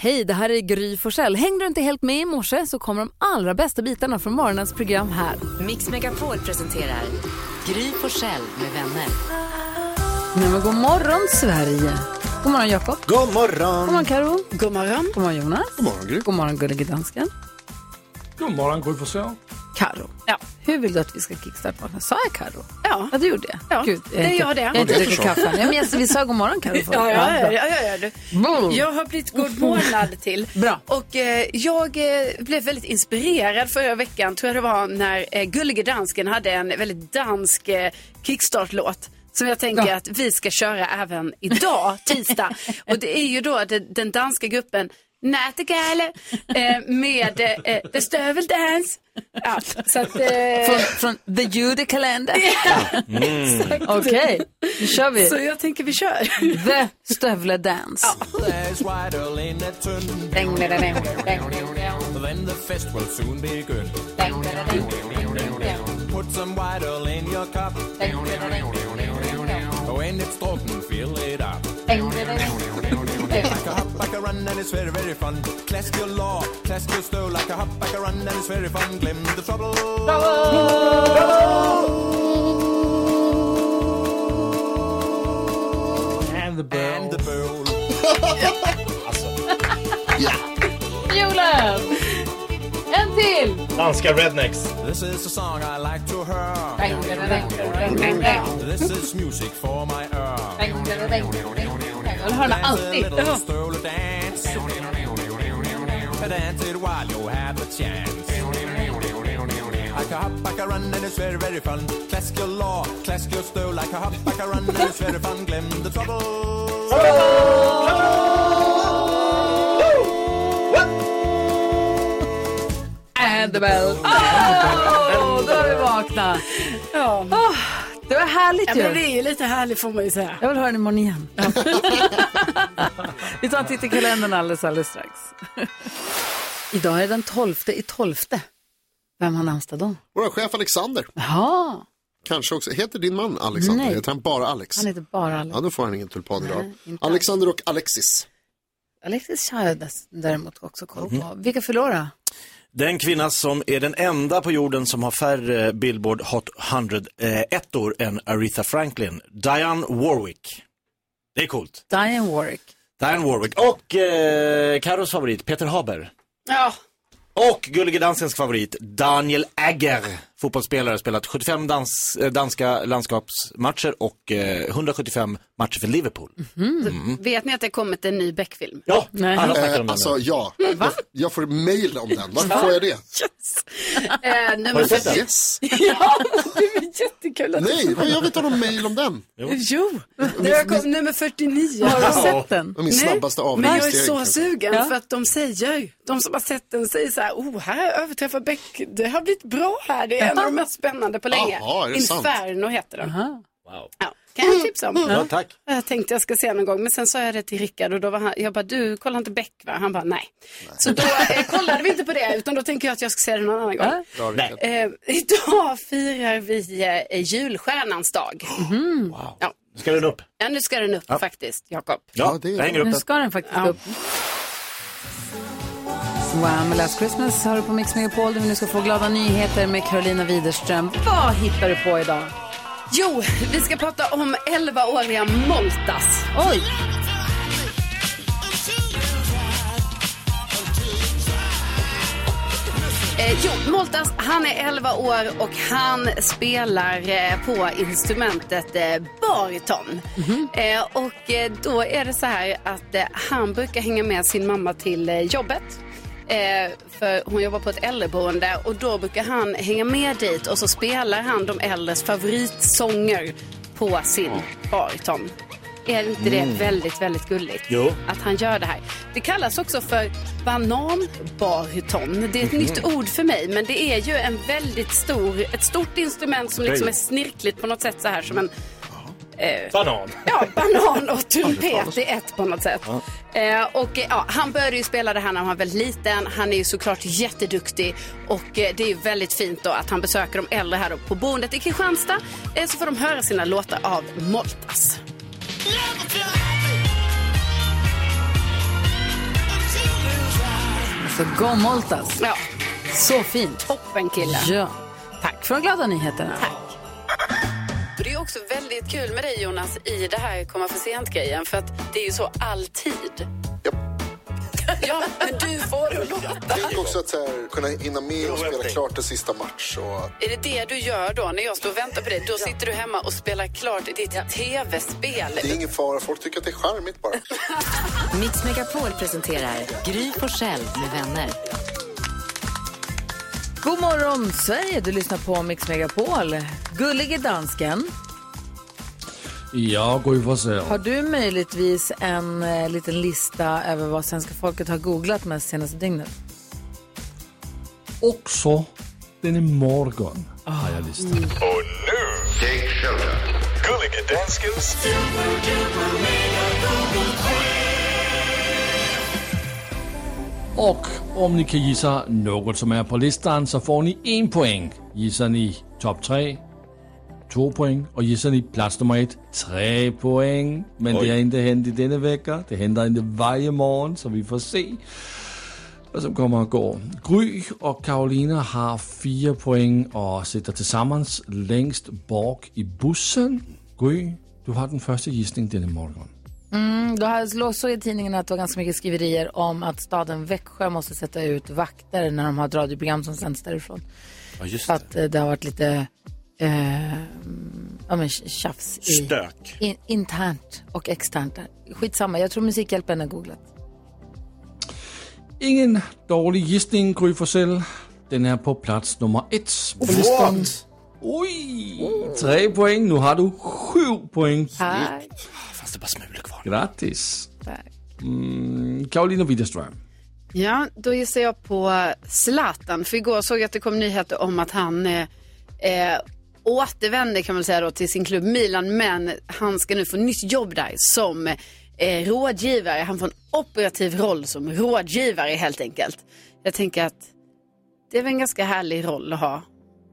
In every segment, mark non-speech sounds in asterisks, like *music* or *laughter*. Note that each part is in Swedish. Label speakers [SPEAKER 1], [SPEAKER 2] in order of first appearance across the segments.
[SPEAKER 1] Hej, det här är Gry Forssell. Hängde du inte helt med i morse så kommer de allra bästa bitarna från morgonens program här.
[SPEAKER 2] Mix Megapol presenterar Gry Forssell med vänner.
[SPEAKER 1] Nej, men god morgon, Sverige. God morgon, Jakob.
[SPEAKER 3] God morgon.
[SPEAKER 1] God morgon, Karo.
[SPEAKER 4] God morgon.
[SPEAKER 1] God morgon, Jonas.
[SPEAKER 3] God morgon, Gry.
[SPEAKER 1] God morgon, gullige dansken.
[SPEAKER 5] God morgon, Gry Forssell.
[SPEAKER 4] Karo.
[SPEAKER 1] Ja. Hur vill du att vi ska kickstarta Sa jag Karo?
[SPEAKER 4] Ja.
[SPEAKER 1] Ja, du gjorde det.
[SPEAKER 4] Ja,
[SPEAKER 1] Gud,
[SPEAKER 4] det
[SPEAKER 1] inte-
[SPEAKER 4] gör det.
[SPEAKER 1] Jag har inte
[SPEAKER 3] Ja, det
[SPEAKER 1] druckit
[SPEAKER 3] förstår jag.
[SPEAKER 1] kaffe. Ja, men jag- vi sa god morgon, Karo. förut.
[SPEAKER 4] Ja, ja, ja,
[SPEAKER 1] bra.
[SPEAKER 4] ja, ja, ja.
[SPEAKER 1] Boom.
[SPEAKER 4] Jag har blivit godmorgonad till.
[SPEAKER 1] Mm. *laughs* Bra.
[SPEAKER 4] Och eh, jag eh, blev väldigt inspirerad förra veckan, tror jag det var, när eh, Gullige Dansken hade en väldigt dansk eh, kickstart-låt. Som jag tänker att vi ska köra även idag,
[SPEAKER 1] *laughs*
[SPEAKER 4] tisdag. och det är ju då den, den danska gruppen Nätegale eh, med eh, eh, The Stöveldance. Ja, så att... Eh, *laughs*
[SPEAKER 1] Från, från The Judekalender. Okej, nu kör vi.
[SPEAKER 4] så jag tänker vi kör.
[SPEAKER 1] The Stövle Dance.
[SPEAKER 6] It's wide early in the tun. Then the fest will soon begin. Put some wide earl in your cup. When it's talking, fill it up. Like a hop, like a run, and it's very, very fun. Clask your law, clask your stow, like a hop, like a run, and it's very fun. Glim the trouble.
[SPEAKER 5] And the
[SPEAKER 6] And the bowl.
[SPEAKER 1] Julen! En till!
[SPEAKER 7] Danska rednecks.
[SPEAKER 6] This is a song I like to hear. This is music for my ear.
[SPEAKER 1] Jag hör den
[SPEAKER 6] Dance a
[SPEAKER 1] alltid.
[SPEAKER 6] little stroller dance. Dance it while you have a chance. Like a hop, like a run, and it's very, very fun. Clask your law, clask your stow, like a hop, like a run, and it's very fun. Glim the trouble.
[SPEAKER 1] And the bell. Oh, då är vi vakna.
[SPEAKER 4] Ja.
[SPEAKER 1] Det var härligt
[SPEAKER 4] Ja,
[SPEAKER 1] ju.
[SPEAKER 4] men det är ju lite härligt får man ju säga.
[SPEAKER 1] Jag vill höra den imorgon igen. vi tar en titt i kalendern alldeles, alldeles strax. Idag är det den tolfte i tolfte. Vem har namnsdag då?
[SPEAKER 3] Vår chef Alexander.
[SPEAKER 1] Jaha,
[SPEAKER 3] Kanske också. Heter din man Alexander?
[SPEAKER 1] Nej.
[SPEAKER 3] Heter han bara Alex?
[SPEAKER 1] han heter bara
[SPEAKER 3] Ja,
[SPEAKER 1] Alex.
[SPEAKER 3] då får han ingen tulpan idag.
[SPEAKER 1] Nej, inte alls.
[SPEAKER 3] Alexander och Alexis.
[SPEAKER 1] Alexis har jag dess- däremot också koll på. Vilka förlorar?
[SPEAKER 7] Den kvinna som är den enda på jorden som har färre Billboard Hot 100-ettor än Aretha Franklin. Diane Warwick. Det är coolt.
[SPEAKER 1] Diane Warwick.
[SPEAKER 7] Diane Warwick. Och eh, Karos favorit, Peter Haber.
[SPEAKER 4] Ja.
[SPEAKER 7] Och Gullige Danskens favorit, Daniel Agger. Fotbollsspelare, spelat 75 dans, eh, danska landskapsmatcher och eh, 175 matcher för Liverpool.
[SPEAKER 4] Vet ni att det kommit en ny Beck-film?
[SPEAKER 7] Ja, alla snackar om
[SPEAKER 3] Eh,
[SPEAKER 7] den.
[SPEAKER 3] alltså, ja. Jag, jag får mail om den. Varför får jag det?
[SPEAKER 4] Eh,
[SPEAKER 7] Har
[SPEAKER 4] nummer...
[SPEAKER 7] du sett den?
[SPEAKER 3] Yes.
[SPEAKER 4] ja, det är jättekul att
[SPEAKER 3] Nej, vad jag vet inte om mail om den.
[SPEAKER 4] Jo, det kom nummer 49.
[SPEAKER 1] Har du sett den?
[SPEAKER 3] Det var min
[SPEAKER 4] Nej,
[SPEAKER 3] snabbaste
[SPEAKER 4] Men jag är
[SPEAKER 3] avregistrering.
[SPEAKER 4] så
[SPEAKER 3] kanske.
[SPEAKER 4] sugen
[SPEAKER 1] Ja.
[SPEAKER 4] för att de säger, de som har sett den säger så här, oh här överträffar Beck, det har blivit bra här, det är en av de mest spännande på länge.
[SPEAKER 3] Jaha, är det sant?
[SPEAKER 4] Inferno heter den.
[SPEAKER 7] Wow.
[SPEAKER 4] Ja, kan jag tipsa om.
[SPEAKER 7] Ja, tack.
[SPEAKER 4] Jag tänkte jag ska se någon gång, men sen sa jag det till Rickard och då var han, jag bara, du kollar inte Beck va? Han bara, nej. Så då eh, kollade vi inte på det, utan då tänker jag att jag ska se det någon annan gång.
[SPEAKER 3] Bra, Rickard.
[SPEAKER 4] Eh, *laughs* idag firar vi eh, julstjärnans dag. Ja.
[SPEAKER 7] Nu ska den upp.
[SPEAKER 4] Ja, nu ska den upp faktiskt, Jakob.
[SPEAKER 7] Ja,
[SPEAKER 3] Ja, det är
[SPEAKER 7] jag hänger upp
[SPEAKER 1] Nu
[SPEAKER 7] den.
[SPEAKER 1] ska den faktiskt upp. Wow, med Last Christmas har du på Mix Megapol där vi nu ska få glada nyheter med Carolina Widerström. Vad hittar du på idag?
[SPEAKER 4] Jo, vi ska prata om 11-åriga Moltas.
[SPEAKER 1] Oj!
[SPEAKER 4] Eh, jo, Moltas, han är 11 år och han spelar eh, på instrumentet eh, bariton. Eh, och eh, då är det så här att eh, han brukar hänga med sin mamma till eh, jobbet. Eh, för hon jobbar på ett äldreboende och då brukar han hänga med dit och så spelar han de äldres favoritsånger på sin bariton. Är inte det väldigt, väldigt gulligt?
[SPEAKER 7] Jo.
[SPEAKER 4] att han gör det här. Det kallas också för bananbariton. Det är ett nytt ord för mig, men det är ju en väldigt stor, ett stort instrument som liksom
[SPEAKER 7] Oj.
[SPEAKER 4] är snirkligt på något sätt så här som en
[SPEAKER 7] Banan.
[SPEAKER 4] ja, banan och trumpet i ett på något sätt. Eh, och eh, ja, han började ju spela det här när han var väldigt liten. Han är ju såklart jätteduktig och eh, det är ju väldigt fint då att han besöker de äldre här då på boendet i Kristianstad eh, så får de höra sina låtar av Moltas.
[SPEAKER 8] Never feel happy until
[SPEAKER 1] Så go Moltas.
[SPEAKER 4] Ja,
[SPEAKER 1] Så fint.
[SPEAKER 4] toppen kille.
[SPEAKER 1] Ja. Tack för de glada nyheterna.
[SPEAKER 4] Det är också väldigt kul med dig Jonas i det här komma för sent-grejen för att det är ju så alltid. Ja, men du får det att låta.
[SPEAKER 3] Tänk också att så här, kunna hinna med och spela klart en sista match. Och...
[SPEAKER 4] Är det det du gör då när jag står och väntar på dig? Då sitter du hemma och spelar klart ditt tv-spel.
[SPEAKER 3] Det är ingen fara, folk tycker att det är charmigt bara.
[SPEAKER 2] Mix Megapol presenterar Gry på med vänner.
[SPEAKER 1] God morgon Sverige, du lyssnar på Mix Megapol. Gullige dansken,
[SPEAKER 5] Ja, Gry Forssell.
[SPEAKER 1] har du möjligtvis en eh, liten lista över vad svenska folket har googlat mest senaste dygnet?
[SPEAKER 5] Också denna morgon har jag listat.
[SPEAKER 8] Och nu, Take Shelter. Gullige Danskens
[SPEAKER 5] Och om ni kan gissa något som är på listan så får ni en poäng. Gissar ni topp tre, två poäng. Och gissar ni plats nummer ett, tre poäng. Men det har inte hänt i denna vecka. Det händer inte varje morgon, så vi får se vad som kommer att gå. Gry och Karolina har fyra poäng och sitter tillsammans längst bak i bussen. Gry, du har den första gissningen denna morgon.
[SPEAKER 1] Mm, Då har jag såg i tidningen att det var ganska mycket skriverier om att staden Växjö måste sätta ut vakter när de har ett radioprogram som sänds därifrån.
[SPEAKER 7] Ja, just
[SPEAKER 1] För
[SPEAKER 7] det.
[SPEAKER 1] att eh, det har varit lite eh, ja, men tjafs i,
[SPEAKER 7] Stök.
[SPEAKER 1] in, internt och externt. där. Skitsamma, jag tror Musikhjälpen har googlat.
[SPEAKER 5] Ingen dårlig gissning, Gry Forssell. Den är på plats nummer ett.
[SPEAKER 3] What?
[SPEAKER 5] Oj! Tre poäng. Nu har du sju poäng.
[SPEAKER 1] Tack.
[SPEAKER 7] Fast det är bara smulor kvar.
[SPEAKER 5] Grattis!
[SPEAKER 1] Tack.
[SPEAKER 5] Mm, Karolina Widerström.
[SPEAKER 4] Ja, då gissar jag på Zlatan. För igår såg jag att det kom nyheter om att han eh, eh, återvänder kan man säga då till sin klubb Milan. Men han ska nu få nytt jobb där som eh, rådgivare. Han får en operativ roll som rådgivare helt enkelt. Jag tänker att det är väl en ganska härlig roll att ha.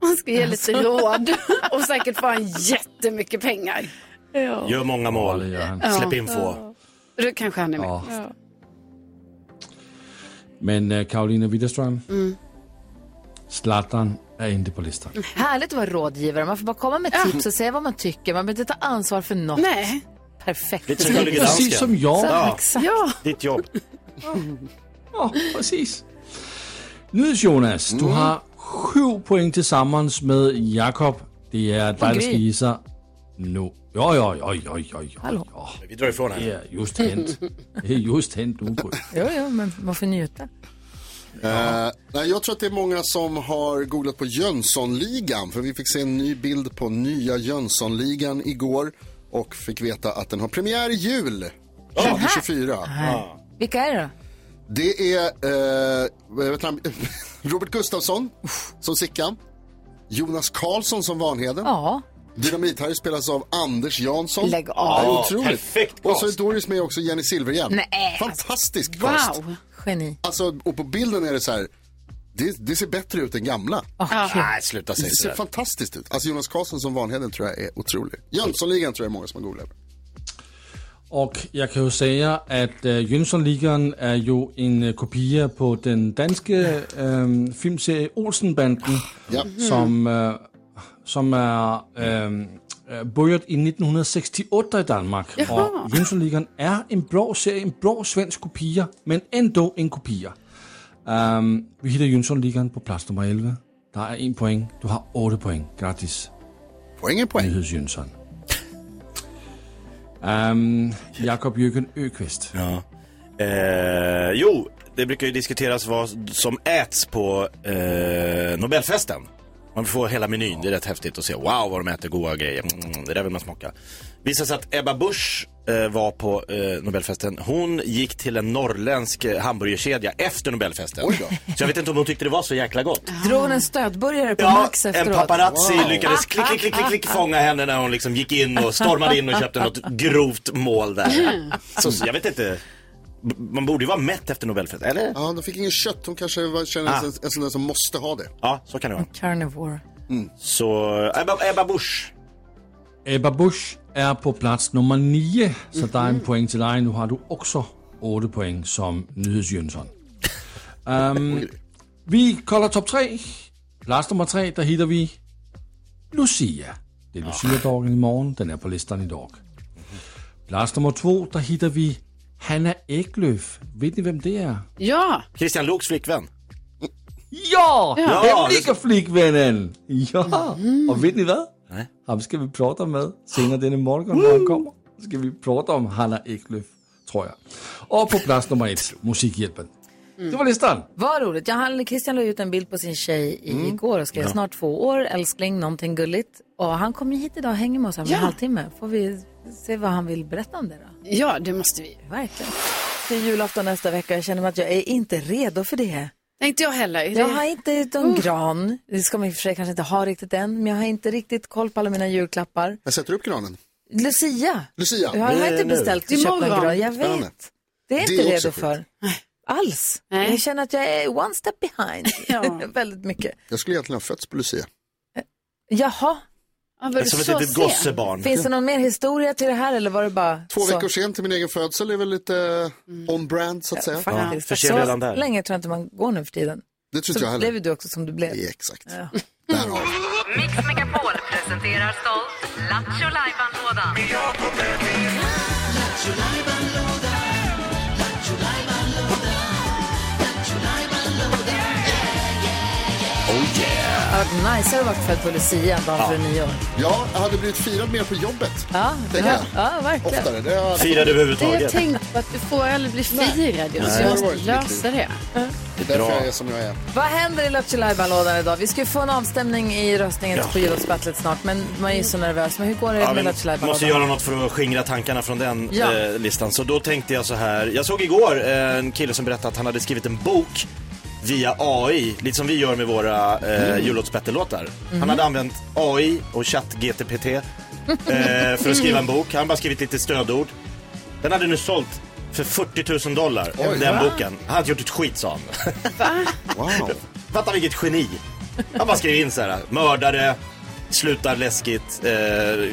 [SPEAKER 4] Han ska ge lite råd *laughs* och säkert få han jättemycket pengar.
[SPEAKER 7] Gör många
[SPEAKER 5] Ja, det
[SPEAKER 7] mål.
[SPEAKER 5] gör han.
[SPEAKER 7] Släpp in få.
[SPEAKER 4] Då kanske han är med.
[SPEAKER 5] Ja. Men eh, Karolina Widerström. Zlatan är inte på listan.
[SPEAKER 1] Härligt att vara rådgivare. Man får bara komma med tips och säga vad man tycker. Man behöver inte ta ansvar för något.
[SPEAKER 4] Nej.
[SPEAKER 1] Perfekt.
[SPEAKER 7] Lite som Gullige
[SPEAKER 5] Precis som
[SPEAKER 7] Dansken.
[SPEAKER 5] jag.
[SPEAKER 1] Ja. Exakt.
[SPEAKER 4] Ja.
[SPEAKER 7] Ditt jobb.
[SPEAKER 5] Ja, precis. Nyhets Jonas, du har sju poäng tillsammans med Jakob. Det är dig,
[SPEAKER 1] Gry.
[SPEAKER 5] der skal gissa nu. Ja, ja, ja, ja, ja, ja.
[SPEAKER 1] Hallo.
[SPEAKER 5] ja.
[SPEAKER 7] Vi drar ifrån
[SPEAKER 5] Det
[SPEAKER 7] här.
[SPEAKER 5] är just hänt. Det är just hänt nu. Gry.
[SPEAKER 1] Jo, jo, men man får njuta.
[SPEAKER 3] Eh, nej, jag tror att det är många som har googlat på Jönssonligan. För vi fick se en ny bild på nya Jönssonligan igår. Och fick veta att den har premiär i jul 2024.
[SPEAKER 1] Vilka är det då?
[SPEAKER 3] Det är eh, vad heter han? *laughs* Robert Gustafsson som Sickan. Jonas Karlsson som Vanheden.
[SPEAKER 1] Ja,
[SPEAKER 3] Dynamit-Harry spelas av Anders Jansson.
[SPEAKER 1] Lägg av.
[SPEAKER 3] Det är otroligt.
[SPEAKER 7] perfekt
[SPEAKER 3] och så är
[SPEAKER 7] cast.
[SPEAKER 3] Doris med också, Jenny Silverhjelm.
[SPEAKER 1] Nej,
[SPEAKER 3] Fantastisk cast.
[SPEAKER 4] Wow.
[SPEAKER 1] geni.
[SPEAKER 3] Alltså, och på bilden är det så här, det, det ser bättre ut än gamla.
[SPEAKER 7] Nej, sluta säga
[SPEAKER 3] Det ser
[SPEAKER 7] sådär.
[SPEAKER 3] fantastiskt ut. Alltså Jonas Karlsson som Vanheden tror jag är otrolig. Jönssonligan tror jag är många som har googlat.
[SPEAKER 5] Och jag kan ju säga att äh, Jönssonligan är ju en äh, kopia på den danske äh, filmserien Olsenbanden
[SPEAKER 3] Ja.
[SPEAKER 5] som, äh, som är äh, börjat i 1968 i Danmark. Och Jönssonligan är en bra serie, en bra svensk kopia, men ändå en kopia. Ehm, vi hittar Jönssonligan på plats nummer 11. Där är en poäng. Du har 8 poäng. Grattis.
[SPEAKER 3] Poäng är poäng.
[SPEAKER 5] Nyhetsjönsson. Um, Jakob Jürgen Öqvist.
[SPEAKER 7] Ja. Eh, jo, det brukar ju diskuteras vad som äts på eh, Nobelfesten. Man får hela menyn, det är rätt häftigt att se. Wow, vad de äter goda grejer. Mm, det där vill man smaka. Visar sig att Ebba Busch eh, var på eh, Nobelfesten. Hon gick till en norrländsk eh, hamburgerkedja efter Nobelfesten.
[SPEAKER 3] Oj då.
[SPEAKER 7] Så jag vet inte om hon tyckte det var så jäkla gott.
[SPEAKER 1] Drog hon en stödburgare på
[SPEAKER 7] Ja,
[SPEAKER 1] Max
[SPEAKER 7] en
[SPEAKER 1] efteråt?
[SPEAKER 7] paparazzi lyckades klick, klick, klick, klick, klick fånga henne när hon liksom gick in och stormade in och köpte något grovt mål där. Så så jag vet inte. B- Man borde ju vara mätt efter Nobelfest, eller?
[SPEAKER 3] Ja, de fick ingen kött. Hon kanske var, känner
[SPEAKER 1] Ah.
[SPEAKER 3] sig en sån där som måste ha det.
[SPEAKER 7] Ja, så kan det vara.
[SPEAKER 1] Carnivore.
[SPEAKER 7] Så Ebba, Ebba Busch.
[SPEAKER 5] Ebba Busch är på plats nummer 9, så där är en poäng till dig. Nu har du också 8 poäng som Nyhetsjönsson. Øhm, vi kolder top 3. Plads nummer 3, der hitter vi Lucia. Det er Lucia-dorken i morgen. Den er på listeren i dag. Plads nummer 2, der hitter vi Hanna Eklöf. Ved ni, hvem det er?
[SPEAKER 4] Ja,
[SPEAKER 7] Christian Loks flickvän.
[SPEAKER 5] Ja!
[SPEAKER 7] Ja,
[SPEAKER 5] Hemliga flickvännen! Ja! Och vet ni vad?
[SPEAKER 7] Nej.
[SPEAKER 5] Ham ska vi prata med senare denna morgon när han kommer. Ska vi prata om Hanna Eklöf, tror jag. Och på plats nummer ett, Musikhjälpen. Det var listan.
[SPEAKER 1] Vad roligt. Jag hann, Christian la ut en bild på sin tjej i- igår och skrev snart två år, älskling, någonting gulligt. Och han kommer ju hit idag och hänger med oss här om
[SPEAKER 4] Ja.
[SPEAKER 1] en halvtimme. Får vi se vad han vill berätta om det då?
[SPEAKER 4] ja det måste vi.
[SPEAKER 1] Verkligen. Det är julafton nästa vecka. Jag känner mig att jag är inte redo för det.
[SPEAKER 4] Nej, inte jag heller.
[SPEAKER 1] Jag har inte någon gran. Det ska man i och för sig kanske inte ha riktigt än. Men jag har inte riktigt koll på alla mina julklappar.
[SPEAKER 3] Jag sätter upp granen.
[SPEAKER 1] Lucia.
[SPEAKER 3] Lucia.
[SPEAKER 1] Jag har
[SPEAKER 7] Det är
[SPEAKER 1] inte
[SPEAKER 7] nu.
[SPEAKER 1] beställt och
[SPEAKER 4] Det är
[SPEAKER 1] köpt någon
[SPEAKER 4] imorgon.
[SPEAKER 1] gran. Jag
[SPEAKER 3] Spännande.
[SPEAKER 1] vet. Det är
[SPEAKER 3] Det
[SPEAKER 1] inte
[SPEAKER 3] är också
[SPEAKER 1] redo
[SPEAKER 3] skit.
[SPEAKER 1] för. Alls.
[SPEAKER 4] Nej.
[SPEAKER 1] Jag känner att jag är one step
[SPEAKER 4] *laughs*
[SPEAKER 1] behind. *laughs* Väldigt mycket.
[SPEAKER 3] Jag skulle egentligen ha fötts på Lucia.
[SPEAKER 1] Jaha,
[SPEAKER 4] Ja, var du
[SPEAKER 7] Som ett
[SPEAKER 4] så
[SPEAKER 7] litet
[SPEAKER 4] sen?
[SPEAKER 7] gossebarn.
[SPEAKER 1] finns det någon mer historia till det här eller var det bara
[SPEAKER 3] Två
[SPEAKER 1] så?
[SPEAKER 3] veckor sen till min egen födsel är väl lite on-brand så att säga.
[SPEAKER 1] Faktiskt.
[SPEAKER 7] Ja, för sig redan där.
[SPEAKER 1] Så länge tror jag inte man går nu för tiden.
[SPEAKER 3] Det tror
[SPEAKER 1] Så
[SPEAKER 3] inte jag heller.
[SPEAKER 1] blev ju du också som du blev.
[SPEAKER 3] Ja, exakt. *laughs*
[SPEAKER 1] Ja.
[SPEAKER 3] Därav.
[SPEAKER 2] Mix Megapol presenterar stolt Lattjo Lajban-lådan.
[SPEAKER 1] Det hade varit nice att vara född på Lucia en dag före nyår.
[SPEAKER 3] Ja, jag hade blivit firad mer på jobbet.
[SPEAKER 1] Ja, det
[SPEAKER 3] Tänker
[SPEAKER 1] har,
[SPEAKER 3] jag.
[SPEAKER 1] ja, verkligen.
[SPEAKER 3] Oftare. Det har jag
[SPEAKER 7] Firade
[SPEAKER 4] Det jag
[SPEAKER 7] överhuvudtaget.
[SPEAKER 4] tänkte på att du får aldrig bli firad. ju, Så
[SPEAKER 3] det
[SPEAKER 4] jag
[SPEAKER 3] var
[SPEAKER 4] måste
[SPEAKER 3] inte
[SPEAKER 4] lösa det.
[SPEAKER 3] därför jag är som jag är.
[SPEAKER 1] Vad händer i Lattjo Lajban-lådan idag? Vi ska ju få en avstämning i röstningen på jullåtsbattlet snart, men man är ju så nervös. Men hur går det
[SPEAKER 7] Ja,
[SPEAKER 1] med
[SPEAKER 7] vi
[SPEAKER 1] Lattjo Lajban-lådan?
[SPEAKER 7] måste göra något för att skingra tankarna från den
[SPEAKER 1] Ja.
[SPEAKER 7] eh, listan. Så då tänkte jag så här. Jag såg igår eh, en kille som berättade att han hade skrivit en bok via AI, lite som vi gör med våra eh, jullåtsbattle-låtar. Han hade använt AI och ChatGTPT eh, för att skriva en bok. Han har bara skrivit lite stödord. Den hade nu sålt för 40 000 dollar, den boken. Han hade gjort ett skit sa han.
[SPEAKER 3] Wow.
[SPEAKER 7] Fatta vilket geni. Han bara skrev in så här, mördare, slutar läskigt, eh,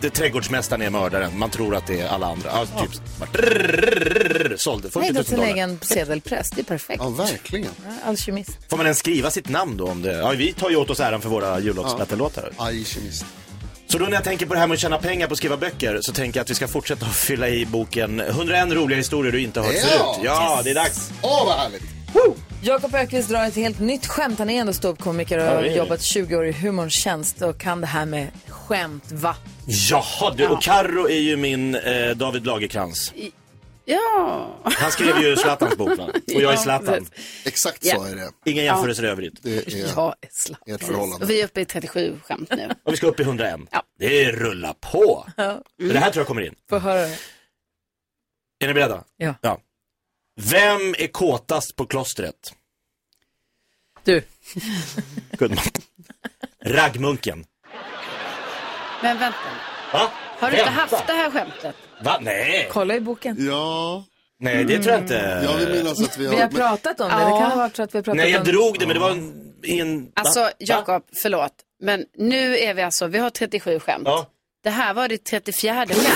[SPEAKER 7] det, trädgårdsmästaren är mördaren, man tror att det är alla andra. Ja, typ, bara, drrrrrrrrr, sålde,
[SPEAKER 1] Nej,
[SPEAKER 7] 40
[SPEAKER 1] då
[SPEAKER 7] 000
[SPEAKER 1] till en
[SPEAKER 7] dollar.
[SPEAKER 1] egen sedelpress. Det är perfekt.
[SPEAKER 3] Ja, verkligen.
[SPEAKER 1] Alkemist.
[SPEAKER 7] Får man ens skriva sitt namn då om det? Ja, vi tar ju åt oss äran för våra jullåtsbattle-låtar.
[SPEAKER 3] Aj, kemist.
[SPEAKER 7] Så då när jag tänker på det här med att tjäna pengar på att skriva böcker så tänker jag att vi ska fortsätta att fylla i boken 101 roliga historier du inte har hört
[SPEAKER 3] Ja.
[SPEAKER 7] förut. Ja, det är dags.
[SPEAKER 3] Åh, vad härligt!
[SPEAKER 1] Jakob Ökvist drar ett helt nytt skämt. Han är ändå ståuppkomiker och har
[SPEAKER 7] det är det.
[SPEAKER 1] jobbat 20 år i humorns tjänst och kan det här med skämt, va?
[SPEAKER 7] Jaha, du, och Karro är ju min eh, David Lagerkrans.
[SPEAKER 4] Ja.
[SPEAKER 7] Han skrev ju Zlatans bok va? Och jag är Zlatan.
[SPEAKER 3] Exakt så är det.
[SPEAKER 7] Inga jämförelser i övrigt.
[SPEAKER 3] Det är
[SPEAKER 4] Jag är slapp.
[SPEAKER 3] ert förhållande.
[SPEAKER 4] Och vi är uppe i 37 skämt nu.
[SPEAKER 7] Och vi ska upp i 101.
[SPEAKER 4] Ja.
[SPEAKER 7] Det är rulla på. Det här tror jag kommer in.
[SPEAKER 1] Få höra det.
[SPEAKER 7] Är ni beredda?
[SPEAKER 1] Ja.
[SPEAKER 7] Vem är kåtast på klostret?
[SPEAKER 1] Du,
[SPEAKER 4] *laughs*
[SPEAKER 7] Gudman. Raggmunken.
[SPEAKER 4] Men vänta.
[SPEAKER 7] Va?
[SPEAKER 4] Har du inte
[SPEAKER 7] Vänta.
[SPEAKER 4] haft det här skämtet?
[SPEAKER 7] Va? Nej.
[SPEAKER 1] kolla i boken.
[SPEAKER 3] Ja,
[SPEAKER 7] Nej, det tror jag
[SPEAKER 4] Mm.
[SPEAKER 7] inte.
[SPEAKER 3] jag vill minnas att vi har...
[SPEAKER 1] Vi har
[SPEAKER 3] men-
[SPEAKER 1] pratat om det. Det kan ha varit så att vi har pratat
[SPEAKER 7] Nej, jag
[SPEAKER 1] om
[SPEAKER 7] drog det, men det var en... i en... Va?
[SPEAKER 4] Alltså,
[SPEAKER 7] Va?
[SPEAKER 4] Jakob, förlåt. Men nu är vi alltså, vi har 37 skämt.
[SPEAKER 7] Ja.
[SPEAKER 4] Det här var det 34 skämt.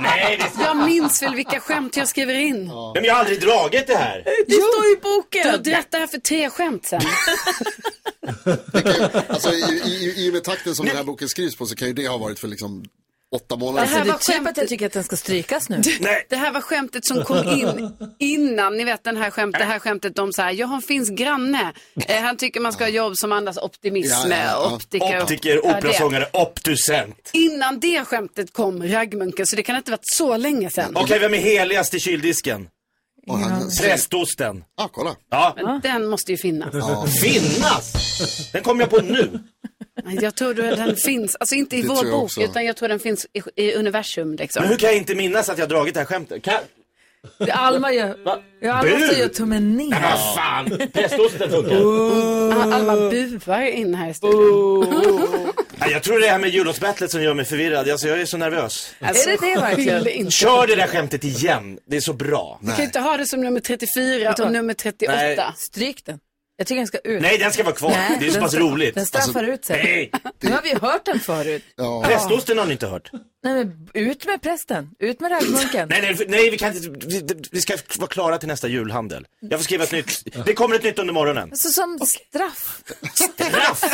[SPEAKER 7] Nej, det...
[SPEAKER 4] Jag minns väl vilka skämt jag skriver in.
[SPEAKER 7] Nej, men jag har aldrig dragit det här.
[SPEAKER 1] Det står i boken!
[SPEAKER 4] Du har dratt det här för tre skämt sen.
[SPEAKER 3] Alltså, i, i, I och med takten som den här boken skrivs på så kan ju det ha varit för liksom åtta månader
[SPEAKER 4] Det
[SPEAKER 1] Så
[SPEAKER 3] sedan.
[SPEAKER 4] här
[SPEAKER 1] det är
[SPEAKER 4] var
[SPEAKER 1] typ
[SPEAKER 4] skämt-
[SPEAKER 1] att jag tycker att den ska strykas nu.
[SPEAKER 7] Nej.
[SPEAKER 4] Det här var skämtet som kom in innan, ni vet den här skämt, det här skämtet om så här, jag har en finsk granne. Eh, han tycker man ska ha jobb som andas optimism,
[SPEAKER 3] Ja, ja, ja.
[SPEAKER 4] optiker.
[SPEAKER 7] Optiker,
[SPEAKER 4] Ja, det.
[SPEAKER 7] operasångare, obducent.
[SPEAKER 4] Innan det skämtet kom raggmunken, så det kan inte varit så länge sedan.
[SPEAKER 7] Okej, vem är heligast i kyldisken?
[SPEAKER 3] Och han,
[SPEAKER 7] Prästosten.
[SPEAKER 3] ah, kolla.
[SPEAKER 7] Ja.
[SPEAKER 4] Den måste ju finnas.
[SPEAKER 7] Finnas! Den kom jag på nu.
[SPEAKER 4] Nej, Jag tror att den finns, alltså inte i
[SPEAKER 3] Det
[SPEAKER 4] vår
[SPEAKER 3] tror jag
[SPEAKER 4] bok,
[SPEAKER 3] också.
[SPEAKER 4] utan jag tror den finns i, i universum liksom.
[SPEAKER 7] Men hur kan jag inte minnas att jag dragit det här skämtet? Kan...
[SPEAKER 1] Alma gör,
[SPEAKER 7] Va?
[SPEAKER 1] ja, Alma
[SPEAKER 7] Bu!
[SPEAKER 1] också gör tummen ner.
[SPEAKER 7] Vad fan, prästosten funkar.
[SPEAKER 4] Ah, Alma buar in här i studion.
[SPEAKER 7] Nej, jag tror det här med jullåtsbattlet som gör mig förvirrad. Alltså, jag är så nervös.
[SPEAKER 4] Alltså,
[SPEAKER 1] Är det det verkligen?
[SPEAKER 4] skyll inte.
[SPEAKER 7] Kör det där skämtet igen. Det är så bra.
[SPEAKER 4] Du kan ju inte ha det som nummer 34 och nummer 38.
[SPEAKER 7] Nej.
[SPEAKER 1] Stryk den. Jag tycker den ska ut.
[SPEAKER 7] Nej, den ska vara kvar.
[SPEAKER 1] Nej,
[SPEAKER 7] det är så
[SPEAKER 1] den
[SPEAKER 7] pass
[SPEAKER 1] stra-
[SPEAKER 7] roligt. Alltså,
[SPEAKER 1] Den straffar ut sig.
[SPEAKER 7] Nej!
[SPEAKER 1] Nu har vi hört den förut.
[SPEAKER 7] Prästosten har ni inte hört.
[SPEAKER 1] Nej, men ut med prästen. Ut med raggmunken.
[SPEAKER 7] Nej, nej, nej vi, kan inte, vi, vi ska vara klara till nästa julhandel. Jag får skriva ett nytt. Det kommer ett nytt under morgonen.
[SPEAKER 1] Alltså som straff
[SPEAKER 7] Straff!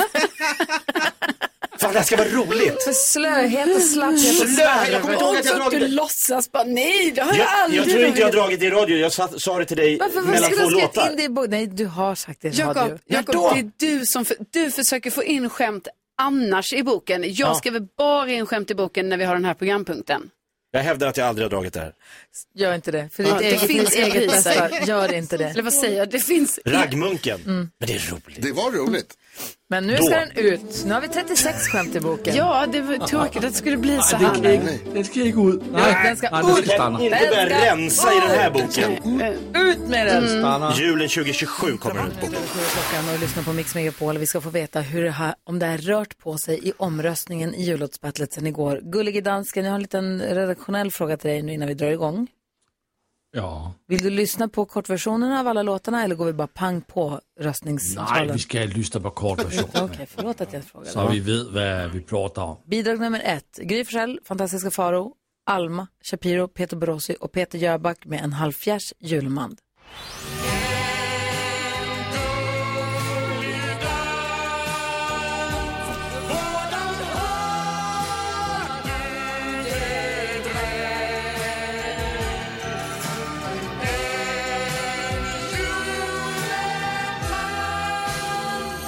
[SPEAKER 7] Fan, det här ska vara roligt.
[SPEAKER 1] för slöhet och slapphet och
[SPEAKER 7] Slöhet, jag kommer inte ihåg att jag
[SPEAKER 1] slarv.
[SPEAKER 7] dragit
[SPEAKER 1] Du
[SPEAKER 7] det.
[SPEAKER 1] låtsas bara, nej det har jag
[SPEAKER 7] Jag,
[SPEAKER 1] aldrig
[SPEAKER 7] jag tror inte jag har dragit
[SPEAKER 1] dragit.
[SPEAKER 7] det i radio. Jag sa, sa det till dig
[SPEAKER 1] Varför varför
[SPEAKER 7] mellan
[SPEAKER 1] skulle
[SPEAKER 7] två
[SPEAKER 1] du ha skrivit in
[SPEAKER 7] låtar.
[SPEAKER 1] det i bo- Nej, du har sagt det i radio.
[SPEAKER 4] Jakob, Jakob
[SPEAKER 1] När då?
[SPEAKER 4] det är du som för, du försöker få in skämt annars i boken. Jag skriver bara in skämt i boken när vi har den här programpunkten.
[SPEAKER 7] Jag hävdar att jag aldrig har dragit det här.
[SPEAKER 1] Gör inte det. För ditt
[SPEAKER 4] det
[SPEAKER 1] eget,
[SPEAKER 4] finns
[SPEAKER 1] ditt eget
[SPEAKER 4] repriser.
[SPEAKER 1] bästa. Gör inte det.
[SPEAKER 4] Eller vad säger jag? Det finns...
[SPEAKER 7] Raggmunken. Men det är roligt.
[SPEAKER 3] Det var roligt.
[SPEAKER 1] Men nu
[SPEAKER 7] Då.
[SPEAKER 1] ska den ut. Nu har vi 36 skämt i boken.
[SPEAKER 4] Ja, det var tråkigt att det skulle bli så
[SPEAKER 5] Den
[SPEAKER 4] här
[SPEAKER 5] ska
[SPEAKER 4] nu.
[SPEAKER 5] ikke, den skal ikke ud. Nej,
[SPEAKER 1] den skal
[SPEAKER 5] nej, den
[SPEAKER 1] ud.
[SPEAKER 5] skal stanna.
[SPEAKER 7] Kan inte börja
[SPEAKER 1] Den ska
[SPEAKER 7] rensa i den här boken.
[SPEAKER 1] Ut med den!
[SPEAKER 5] Stanna.
[SPEAKER 7] Julen 2027 kommer ut boken.
[SPEAKER 1] Sju är klockan och lyssnar på Mix Megapol. Vi ska få veta hur det här, om det har rört på sig i omröstningen i jullåtsbattlet sen igår. Gullige dansken, jag har en liten redaktionell fråga till dig nu innan vi drar igång.
[SPEAKER 5] Ja.
[SPEAKER 1] Vill du lyssna på kortversionerna av alla låtarna eller går vi bara pang på
[SPEAKER 5] Nej,
[SPEAKER 1] röstningstalen?
[SPEAKER 5] vi skal have lyster på kort version.
[SPEAKER 1] Okej, förlåt att jag frågade.
[SPEAKER 5] Så vi ved, hvad vi prater om.
[SPEAKER 1] Bidrag nummer ett, Gry Forssell, Fantastiska Faro, Alma, Shapiro, Peter Borossi och Peter Jöback med en halvfjärs julmand.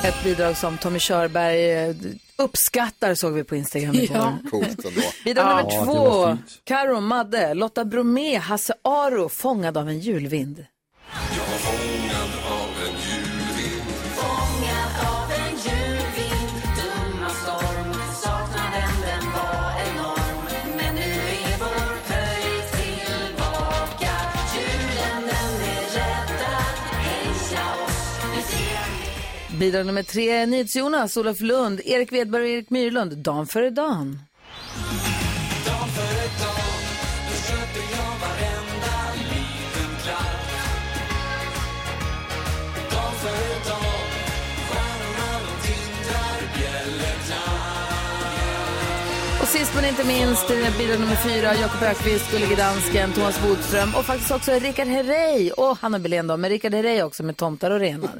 [SPEAKER 1] Ett bidrag som Tommy Körberg eh, uppskattar såg vi på Instagram igår.
[SPEAKER 3] Coolt ändå.
[SPEAKER 1] Bidrag nummer
[SPEAKER 5] Ja, det var
[SPEAKER 1] två.
[SPEAKER 5] fint.
[SPEAKER 1] Karo, Madde, Lotta Bromé, Hasse Aro, fångad av en julvind. Bidrag nummer tre, NyhetsJonas, Olof Lund, Erik Wedberg och Erik Myrlund, Dan före dan. Och sist men inte minst, det är bidrag nummer fyra, Jakob Ökvist, Gullige Dansken, Thomas Bodström och faktiskt också Rickard Herrey och Hanna Belén då, men Rickard Herrey också med Tomtar och renar.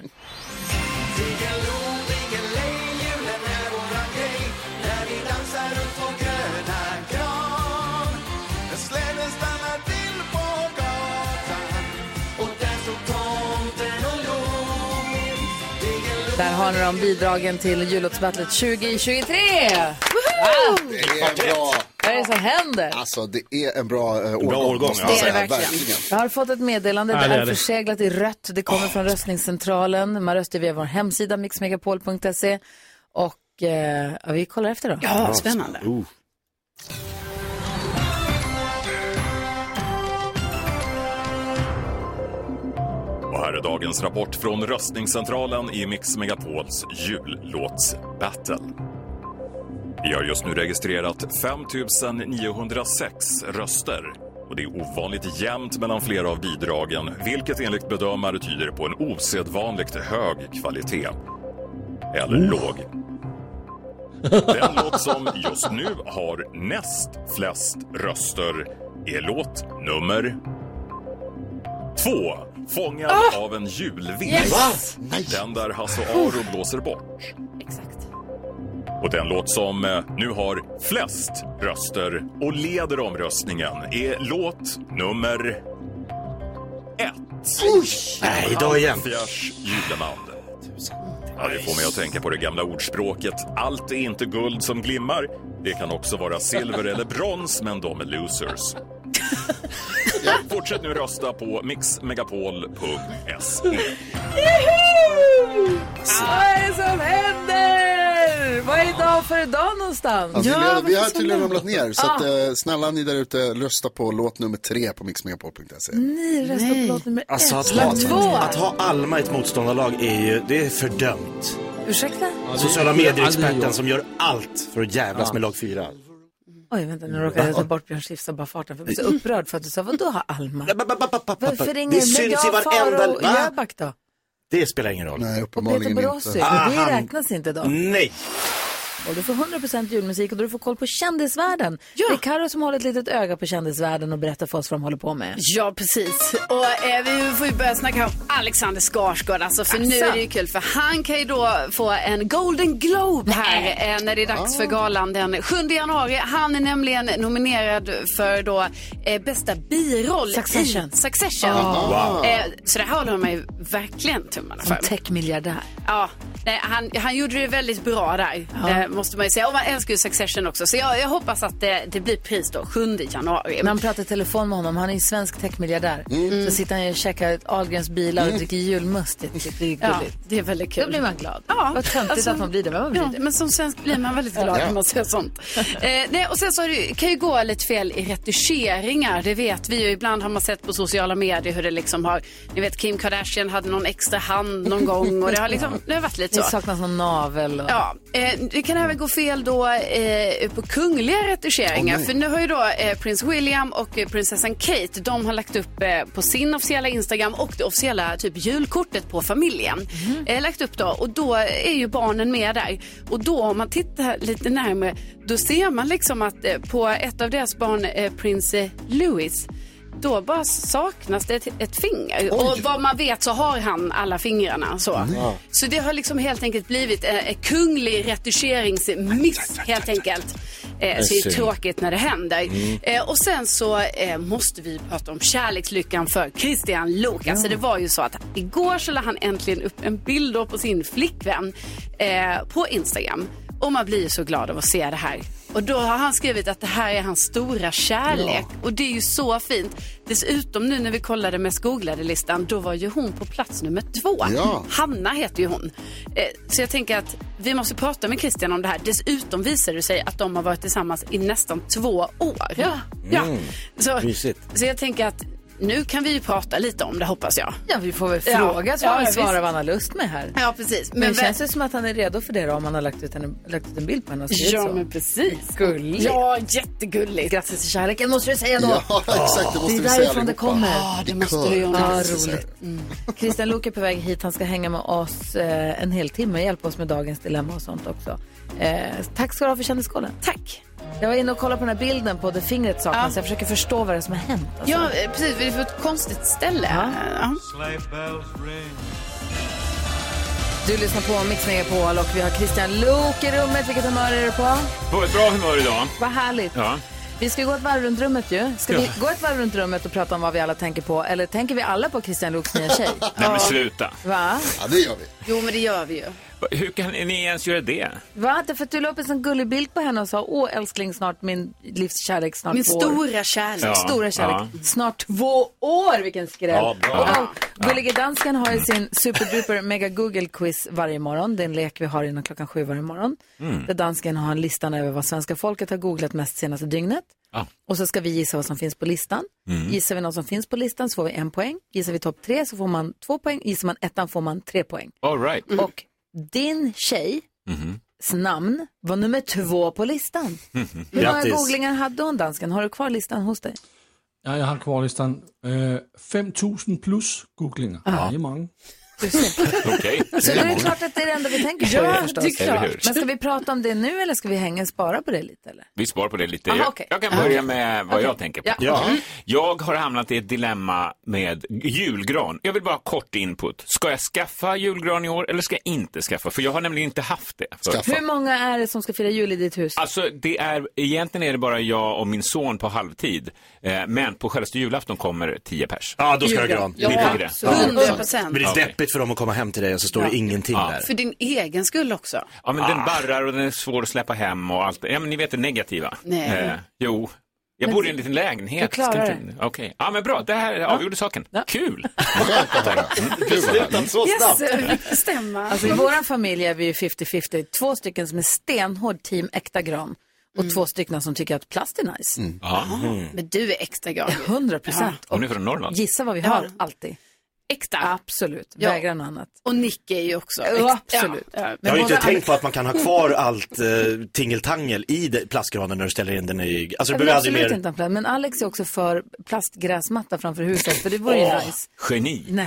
[SPEAKER 1] Där har ni de bidragen till jullåtsbattlet 2023!
[SPEAKER 3] Det är bra.
[SPEAKER 1] Vad är det som händer?
[SPEAKER 3] Alltså det är en bra eh, årgång.
[SPEAKER 7] årgång,
[SPEAKER 3] måste
[SPEAKER 7] ja.
[SPEAKER 3] jag
[SPEAKER 7] Det är
[SPEAKER 3] säga.
[SPEAKER 4] det verkligen.
[SPEAKER 1] Jag har fått ett meddelande,
[SPEAKER 5] Ja,
[SPEAKER 1] det
[SPEAKER 5] det
[SPEAKER 1] är
[SPEAKER 5] är det.
[SPEAKER 1] förseglat i rött. Det kommer från röstningscentralen. Man röstar via vår hemsida mixmegapol.se. Och eh, ja, vi kollar efter då.
[SPEAKER 4] Ja, spännande.
[SPEAKER 9] Och här är dagens rapport från röstningscentralen i Mix Megapols jullåtsbattle. Vi har just nu registrerat 5 906 röster. Och det är ovanligt jämnt mellan flera av bidragen, vilket enligt bedömare tyder på en osedvanligt hög kvalitet. Eller låg. Den låt som just nu har näst flest röster är låt nummer Två. Fångad av en julvind. Den där Hasse Aro blåser bort.
[SPEAKER 4] Exakt.
[SPEAKER 9] Och den låt som eh, nu har flest röster och leder omröstningen är låt nummer ett.
[SPEAKER 7] Nej, idag igen.
[SPEAKER 9] Fjärs julemand. Ja, det får mig att tänka på det gamla ordspråket Allt är inte guld som glimmar. Det kan också vara silver eller brons, men de är losers. Ja, Fortsätt nu rösta på mixmegapol.se.
[SPEAKER 1] Vad är det som händer? Vad är idag för idag någonstans?
[SPEAKER 3] Alltså,
[SPEAKER 1] Ja,
[SPEAKER 3] vi, har,
[SPEAKER 1] vad
[SPEAKER 3] vi
[SPEAKER 1] är det
[SPEAKER 3] har
[SPEAKER 1] som
[SPEAKER 3] tydligen
[SPEAKER 1] händer?
[SPEAKER 3] ramlat ner, så att, eh, snälla ni där ute, rösta på låt nummer tre på mixmegapol.se.
[SPEAKER 1] Ni röstar på låt nummer
[SPEAKER 7] Alltså
[SPEAKER 1] ett.
[SPEAKER 7] att ha, att ha Alma i ett motståndarlag är ju, det är fördömt.
[SPEAKER 1] Ursäkta?
[SPEAKER 7] Sociala
[SPEAKER 5] aldrig
[SPEAKER 7] medier-experten
[SPEAKER 5] gjort.
[SPEAKER 7] som gör allt för att jävlas med lag 4.
[SPEAKER 1] Oj, vänta, nu råkade jag ta bort Björn Skifs av bara farten. För jag blev så upprörd för att du sa, vadå har Alma? Varför ringer
[SPEAKER 7] Det syns i
[SPEAKER 1] Megan Farao
[SPEAKER 7] varenda...
[SPEAKER 1] och
[SPEAKER 7] Va?
[SPEAKER 1] Jöback då?
[SPEAKER 7] Det spelar ingen roll.
[SPEAKER 3] Nej,
[SPEAKER 1] Och Peter
[SPEAKER 3] uppenbarligen
[SPEAKER 1] Borossi,
[SPEAKER 3] inte.
[SPEAKER 7] Ah,
[SPEAKER 1] det
[SPEAKER 7] han-
[SPEAKER 1] räknas inte då.
[SPEAKER 7] Nej!
[SPEAKER 1] Och du får 100% julmusik och du får koll på kändisvärlden. Det är Karo som håller ett litet öga på kändisvärlden och berättar för oss vad de håller på med.
[SPEAKER 4] Ja, precis. Och eh, vi får ju börja snacka om Alexander Skarsgård alltså, för nu
[SPEAKER 1] Jaså?
[SPEAKER 4] är det ju kul för han kan ju då få en Golden Globe här eh, när det är dags för galan den 7 januari. Han är nämligen nominerad för då eh, bästa biroll
[SPEAKER 1] Succession.
[SPEAKER 4] i Succession. Eh, så det här håller man ju verkligen tummarna för.
[SPEAKER 1] Som techmiljardär.
[SPEAKER 4] Ja, nej, han, han gjorde det väldigt bra där, eh, måste man ju säga. Och man älskar ju Succession också, så jag, jag hoppas att det, det blir pris då 7 januari.
[SPEAKER 1] När han pratar i telefon med honom, han är ju svensk techmiljardär. Så sitter han ju och käkar ett Ahlgrens bilar och dricker julmust. Det är gulligt.
[SPEAKER 4] Ja, det är väldigt kul.
[SPEAKER 1] Då blir man glad.
[SPEAKER 4] Ja,
[SPEAKER 1] Vad töntigt
[SPEAKER 4] alltså-
[SPEAKER 1] att man blir det, men man blir
[SPEAKER 4] ja,
[SPEAKER 1] det.
[SPEAKER 4] Men som svensk blir man väldigt glad när man ser sånt. eh, nej, och sen så har det, ju- kan ju gå lite fel i retuscheringar. Det vet vi ju. Ibland har man sett på sociala medier hur det liksom har... Ni vet Kim Kardashian hade någon extra hand någon gång och det har liksom... Det har varit lite
[SPEAKER 1] Det
[SPEAKER 4] så.
[SPEAKER 1] saknas någon navel. Och...
[SPEAKER 4] Ja, eh, det kan även gå fel då eh, på kungliga retuscheringar. för nu har ju då eh, prins William och eh, prinsessan Kate, de har lagt upp eh, på sin officiella Instagram och det officiella typ julkortet på familjen. Eh, lagt upp då och då är ju barnen med där. Och då om man tittar lite närmare, då ser man liksom att eh, på ett av deras barn, eh, prins eh, Louis, då bara saknas det ett, ett finger. Och vad man vet så har han alla fingrarna. Så, så det har liksom helt enkelt blivit eh, en, en kunglig retuscheringsmiss helt enkelt. Eh, så det är
[SPEAKER 7] synd.
[SPEAKER 4] tråkigt när det händer. Eh, och sen så eh, måste vi prata om kärlekslyckan för Christian Lok. Alltså det var ju så att igår så la han äntligen upp en bild då på sin flickvän eh, på Instagram. Och man blir ju så glad av att se det här. Och då har han skrivit att det här är hans stora kärlek. Och det är ju så fint. Dessutom nu när vi kollade mest googlade-listan, då var ju hon på plats nummer två.
[SPEAKER 3] Ja.
[SPEAKER 4] Hanna heter ju hon. Eh, Så jag tänker att vi måste prata med Christian om det här. Dessutom visar det sig att de har varit tillsammans i nästan två år. Ja. ja. Så,
[SPEAKER 7] Mm. mysigt.
[SPEAKER 4] så jag tänker att nu kan vi ju prata lite om det hoppas jag.
[SPEAKER 1] Ja, vi får väl
[SPEAKER 4] Ja.
[SPEAKER 1] fråga så får
[SPEAKER 4] Ja,
[SPEAKER 1] han
[SPEAKER 4] ja,
[SPEAKER 1] svara
[SPEAKER 4] visst.
[SPEAKER 1] vad han har lust med här.
[SPEAKER 4] Ja, precis.
[SPEAKER 1] Men, det känns ju som att han är redo för det då, om han har lagt ut en, lagt ut en bild på henne och skrivit
[SPEAKER 4] Ja,
[SPEAKER 1] så.
[SPEAKER 4] men precis.
[SPEAKER 1] Gulligt.
[SPEAKER 4] Ja, jättegulligt.
[SPEAKER 1] Grattis till kärleken måste du säga då.
[SPEAKER 3] Ja, *laughs* exakt. Det
[SPEAKER 1] det
[SPEAKER 3] måste
[SPEAKER 1] är
[SPEAKER 3] vi säga
[SPEAKER 1] därifrån
[SPEAKER 3] allihopa.
[SPEAKER 1] det kommer.
[SPEAKER 4] Ja, det
[SPEAKER 3] I
[SPEAKER 4] måste
[SPEAKER 3] kör.
[SPEAKER 4] du göra.
[SPEAKER 1] Ja,
[SPEAKER 3] Precis,
[SPEAKER 1] roligt. Mm. Christian Luuk är på väg hit. Han ska hänga med oss eh, en hel timme och hjälpa oss med dagens dilemma och sånt också. Eh, tack ska du ha för kändiskollen.
[SPEAKER 4] Tack.
[SPEAKER 1] Jag var inne och kollade på den här bilden på det fingret saknas.
[SPEAKER 4] Ja.
[SPEAKER 1] Jag försöker förstå vad det är som har hänt. Alltså.
[SPEAKER 4] Ja, eh, precis. Vi är på ett konstigt ställe.
[SPEAKER 1] Ja.
[SPEAKER 4] Ja.
[SPEAKER 1] Du lyssnar på Mix Megapol och vi har Christian Luuk i rummet. Vilket humör är du på?
[SPEAKER 9] På ett bra humör idag.
[SPEAKER 1] Vad härligt.
[SPEAKER 9] Ja.
[SPEAKER 1] Vi ska ju gå ett varv runt rummet ju. Ska vi gå ett varv runt rummet och prata om vad vi alla tänker på? Eller tänker vi alla på Christian Luuks
[SPEAKER 4] *laughs*
[SPEAKER 1] nya tjej?
[SPEAKER 9] Nej men sluta.
[SPEAKER 1] Va?
[SPEAKER 3] Ja, det gör vi.
[SPEAKER 4] Jo, men det gör vi ju.
[SPEAKER 9] Hur kan ni ens göra det?
[SPEAKER 1] Va? Det är för att du la upp en sån gullig bild på henne och sa åh älskling snart min livs kärlek snart
[SPEAKER 4] Min
[SPEAKER 1] vår."
[SPEAKER 4] stora kärlek.
[SPEAKER 9] Ja.
[SPEAKER 1] Stora kärlek. Snart två år, vilken skräll.
[SPEAKER 7] Ja, bra.
[SPEAKER 1] Wow. Gullige dansken har ju sin superduper mega google quiz varje morgon. Det är en lek vi har innan klockan sju varje morgon. Där dansken har en listan över vad svenska folket har googlat mest senaste dygnet.
[SPEAKER 9] Ja.
[SPEAKER 1] Och så ska vi gissa vad som finns på listan. Gissar vi något som finns på listan så får vi en poäng. Gissar vi topp tre så får man två poäng. Gissar man ettan får man tre poäng.
[SPEAKER 9] All right.
[SPEAKER 1] Och din tjejs namn var nummer två på listan. Hur många
[SPEAKER 7] Grattis.
[SPEAKER 1] googlingar hade hon, dansken? Har du kvar listan hos dig?
[SPEAKER 5] Ja, jeg har kvar listan. Øh, 5.000 plus googlinger. Det er mange.
[SPEAKER 9] Okej.
[SPEAKER 1] *laughs* Så det är klart att det är det enda vi tänker på ja, förstås.
[SPEAKER 4] det är klart.
[SPEAKER 9] Eller hur?
[SPEAKER 1] Men ska vi prata om det nu eller ska vi hänga och spara på det lite? Eller?
[SPEAKER 9] Vi sparar på det lite.
[SPEAKER 1] Aha,
[SPEAKER 9] jag,
[SPEAKER 1] okej.
[SPEAKER 9] jag kan börja med vad jag tänker på.
[SPEAKER 10] Mm.
[SPEAKER 9] Jag har hamnat i ett dilemma med julgran. Jag vill bara ha kort input. Ska jag skaffa julgran i år eller ska jag inte skaffa? För jag har nämligen inte haft det. förut.
[SPEAKER 3] Skaffa.
[SPEAKER 1] Hur många är det som ska fira jul i ditt hus?
[SPEAKER 9] Alltså, det är, egentligen är det bara jag och min son på halvtid. Eh, men på självaste julafton kommer tio pers.
[SPEAKER 7] Ja, då ska jag ha gran.
[SPEAKER 9] Ni tycker det?
[SPEAKER 7] Ja.
[SPEAKER 4] 100 procent.
[SPEAKER 7] Men det är
[SPEAKER 9] Okej.
[SPEAKER 7] deppigt för dem att komma hem till dig och så står det ingenting där.
[SPEAKER 4] För din egen skull också.
[SPEAKER 9] Ja, men
[SPEAKER 4] Ah.
[SPEAKER 9] den barrar och den är svår att släppa hem och allt. Ja, men ni vet det negativa.
[SPEAKER 4] Nej.
[SPEAKER 10] Eh,
[SPEAKER 9] jo. Jag bor i en liten lägenhet.
[SPEAKER 1] du klarar
[SPEAKER 9] Ska inte- Okej. Ja, men bra. Det här avgjorde saken.
[SPEAKER 4] *laughs*
[SPEAKER 9] Kul!
[SPEAKER 3] Skönt att höra.
[SPEAKER 10] Mm,
[SPEAKER 3] Kul att höra.
[SPEAKER 7] Så snabbt.
[SPEAKER 4] Stämma.
[SPEAKER 1] Alltså, I vår familj är vi ju 50-50. Två stycken som är stenhård team äkta gran och två stycken som tycker att plast är nice.
[SPEAKER 9] Ja.
[SPEAKER 7] Mm.
[SPEAKER 4] Men du är extra glad.
[SPEAKER 1] 100 procent.
[SPEAKER 9] Hon är från Norrland.
[SPEAKER 1] Gissa vad vi har,
[SPEAKER 4] Ja.
[SPEAKER 1] alltid.
[SPEAKER 4] Extra.
[SPEAKER 1] Absolut,
[SPEAKER 4] Ja.
[SPEAKER 1] vägrar något annat.
[SPEAKER 4] Och Nick är ju också
[SPEAKER 1] Ja,
[SPEAKER 4] extra.
[SPEAKER 1] absolut.
[SPEAKER 4] Ja.
[SPEAKER 7] Jag har ju inte
[SPEAKER 1] båda-
[SPEAKER 7] tänkt på att man kan ha kvar allt eh, tingeltangel i de- plastgranen när du ställer in den i... Alltså det
[SPEAKER 1] Jag vill
[SPEAKER 7] blir aldrig
[SPEAKER 1] absolut
[SPEAKER 7] mer...
[SPEAKER 1] inte ha en plast. Men Alex är också för plastgräsmatta framför huset, för det vore ju nice.
[SPEAKER 9] Geni.
[SPEAKER 1] Nej,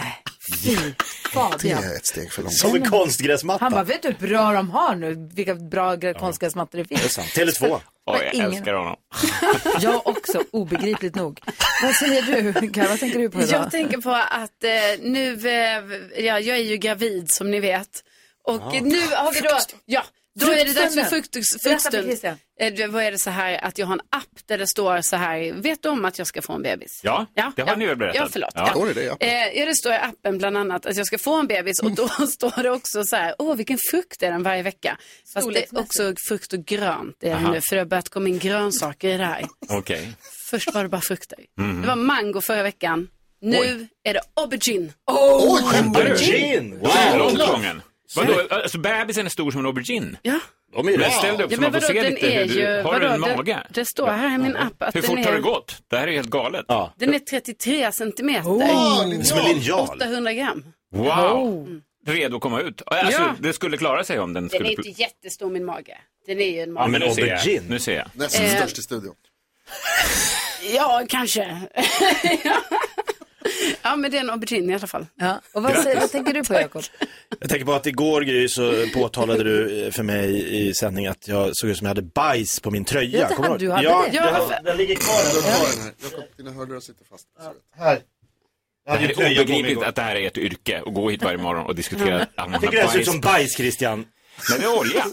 [SPEAKER 1] fy.
[SPEAKER 3] Det
[SPEAKER 1] Fabian.
[SPEAKER 3] är ett steg för långt.
[SPEAKER 7] Som en konstgräsmatta.
[SPEAKER 1] Han bara, vet du hur bra de har nu? Vilka bra ja. konstgräsmattor det
[SPEAKER 7] Det är
[SPEAKER 1] finns.
[SPEAKER 7] sant. Tele2.
[SPEAKER 1] Oj, jag ingen- älskar
[SPEAKER 7] honom.
[SPEAKER 1] *laughs* Jag också, obegripligt nog. Vad säger du, Kaj? Vad tänker du *laughs* på idag?
[SPEAKER 4] Jag tänker på att eh, nu, eh, ja, jag är ju gravid som ni vet. Och eh, nu har vi då, ja, då är det dags för
[SPEAKER 1] Fruktstunden.
[SPEAKER 4] frukt-
[SPEAKER 1] Berätta för
[SPEAKER 4] fruktstund.
[SPEAKER 1] Christian.
[SPEAKER 4] Eh, det- Vad är det så här att jag har en app där det står så här, vet du om att jag ska få en bebis?
[SPEAKER 10] Ja,
[SPEAKER 4] ja
[SPEAKER 10] det har
[SPEAKER 4] ja,
[SPEAKER 10] ni väl berättat?
[SPEAKER 4] Ja, förlåt.
[SPEAKER 10] Ja.
[SPEAKER 4] Ja.
[SPEAKER 3] Står det det? Ja.
[SPEAKER 4] Eh, ja, det står i appen bland annat att jag ska få en bebis och då *laughs* står det också så här, åh vilken frukt är den varje vecka. Fast det är också frukt och grönt är det
[SPEAKER 10] Aha.
[SPEAKER 4] nu, för det har börjat komma in grönsaker i det här.
[SPEAKER 10] Okej.
[SPEAKER 4] Först var det bara frukter.
[SPEAKER 10] Mhm.
[SPEAKER 4] Det var mango förra veckan. Nu är det aubergine.
[SPEAKER 3] Oj, skämtar du?
[SPEAKER 7] Gin! Wow!
[SPEAKER 10] Långt gången. Vadå, alltså bebisen är stor som en aubergine?
[SPEAKER 4] Ja.
[SPEAKER 7] De är ju
[SPEAKER 10] Men
[SPEAKER 7] bra.
[SPEAKER 10] ställ dig upp
[SPEAKER 4] Ja,
[SPEAKER 10] så man
[SPEAKER 4] men
[SPEAKER 10] får
[SPEAKER 4] vadå,
[SPEAKER 10] se
[SPEAKER 4] den
[SPEAKER 10] lite
[SPEAKER 4] är
[SPEAKER 10] hur du...
[SPEAKER 4] ju...
[SPEAKER 10] Har du en
[SPEAKER 4] vadå,
[SPEAKER 10] mage?
[SPEAKER 4] Det, det står här i min app att
[SPEAKER 10] Hur
[SPEAKER 4] den
[SPEAKER 10] fort
[SPEAKER 4] är...
[SPEAKER 10] har det gått? Det här är helt galet.
[SPEAKER 7] Ja.
[SPEAKER 4] Den är 33 centimeter.
[SPEAKER 7] Som en linjal.
[SPEAKER 4] 800 gram.
[SPEAKER 10] Wow! Redo att komma ut. Alltså,
[SPEAKER 4] Oh. Ja.
[SPEAKER 10] Det skulle klara sig om den
[SPEAKER 4] Den
[SPEAKER 10] skulle...
[SPEAKER 4] är inte jättestor min mage. Den är ju en
[SPEAKER 10] Ja,
[SPEAKER 4] mage.
[SPEAKER 10] men nu ser jag.
[SPEAKER 7] Aubergine.
[SPEAKER 10] Nu ser jag.
[SPEAKER 3] Nästan
[SPEAKER 4] Eh.
[SPEAKER 3] störst i studion.
[SPEAKER 4] Ja, kanske. *laughs* ja, men det är en aubergine i alla fall.
[SPEAKER 10] Alltså-
[SPEAKER 1] Ja. Och vad, säger, vad tänker du på, *laughs* Jakob?
[SPEAKER 7] Jag tänker på att igår Gry så påtalade du eh, för mig i sändning att jag såg ut som jag hade bajs på min tröja.
[SPEAKER 1] Ja, det
[SPEAKER 7] Kommer
[SPEAKER 1] hade
[SPEAKER 7] ihåg?
[SPEAKER 1] du.
[SPEAKER 7] ja,
[SPEAKER 1] Hade det.
[SPEAKER 7] det hade- den ligger kvar där.
[SPEAKER 3] Jag tar den här. Jakob, dina hörlurar sitter fast.
[SPEAKER 10] Det här är obegripligt att det här är ett yrke. Att gå hit varje morgon och diskutera att man har
[SPEAKER 7] Tycker den ser ut
[SPEAKER 10] bajs.
[SPEAKER 7] som bajs Christian.
[SPEAKER 10] Men det är olja.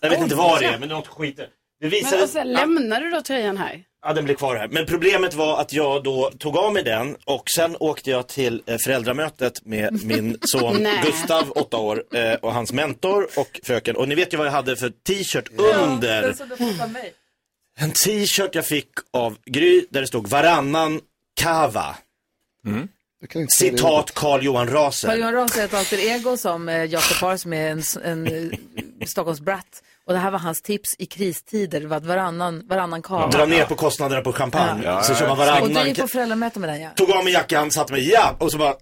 [SPEAKER 7] Jag vet inte vad det är men det är något skit. Det
[SPEAKER 4] Men
[SPEAKER 7] visade
[SPEAKER 4] och
[SPEAKER 1] alltså-
[SPEAKER 4] sen lämnar du då tröjan här?
[SPEAKER 7] Ja, den blev kvar här. Men problemet var att jag då tog av mig den och sen åkte jag till eh, föräldramötet med
[SPEAKER 1] *laughs*
[SPEAKER 7] min son
[SPEAKER 4] Nej.
[SPEAKER 7] Gustav, åtta år, eh, och hans mentor och fröken. Och ni vet ju vad jag hade för t-shirt under. En t-shirt jag fick av Gry där det stod varannan kava.
[SPEAKER 3] Jag kan inte säga det
[SPEAKER 7] Citat Carl Johan
[SPEAKER 1] Carl
[SPEAKER 7] Raser.
[SPEAKER 1] Johan Ras är ett alter ego som eh, Jakob har som är en, s- en eh, Stockholmsbrat. Och det här var hans tips i kristider, var att varannan, varannan kava.
[SPEAKER 7] Dra ner på kostnaderna på champagne.
[SPEAKER 10] Ja.
[SPEAKER 7] Så kör man
[SPEAKER 1] Och du
[SPEAKER 7] varannan.
[SPEAKER 1] gick på föräldramöte med den ja.
[SPEAKER 7] Tog av mig jackan, satte mig, ja! Och så bara, ah.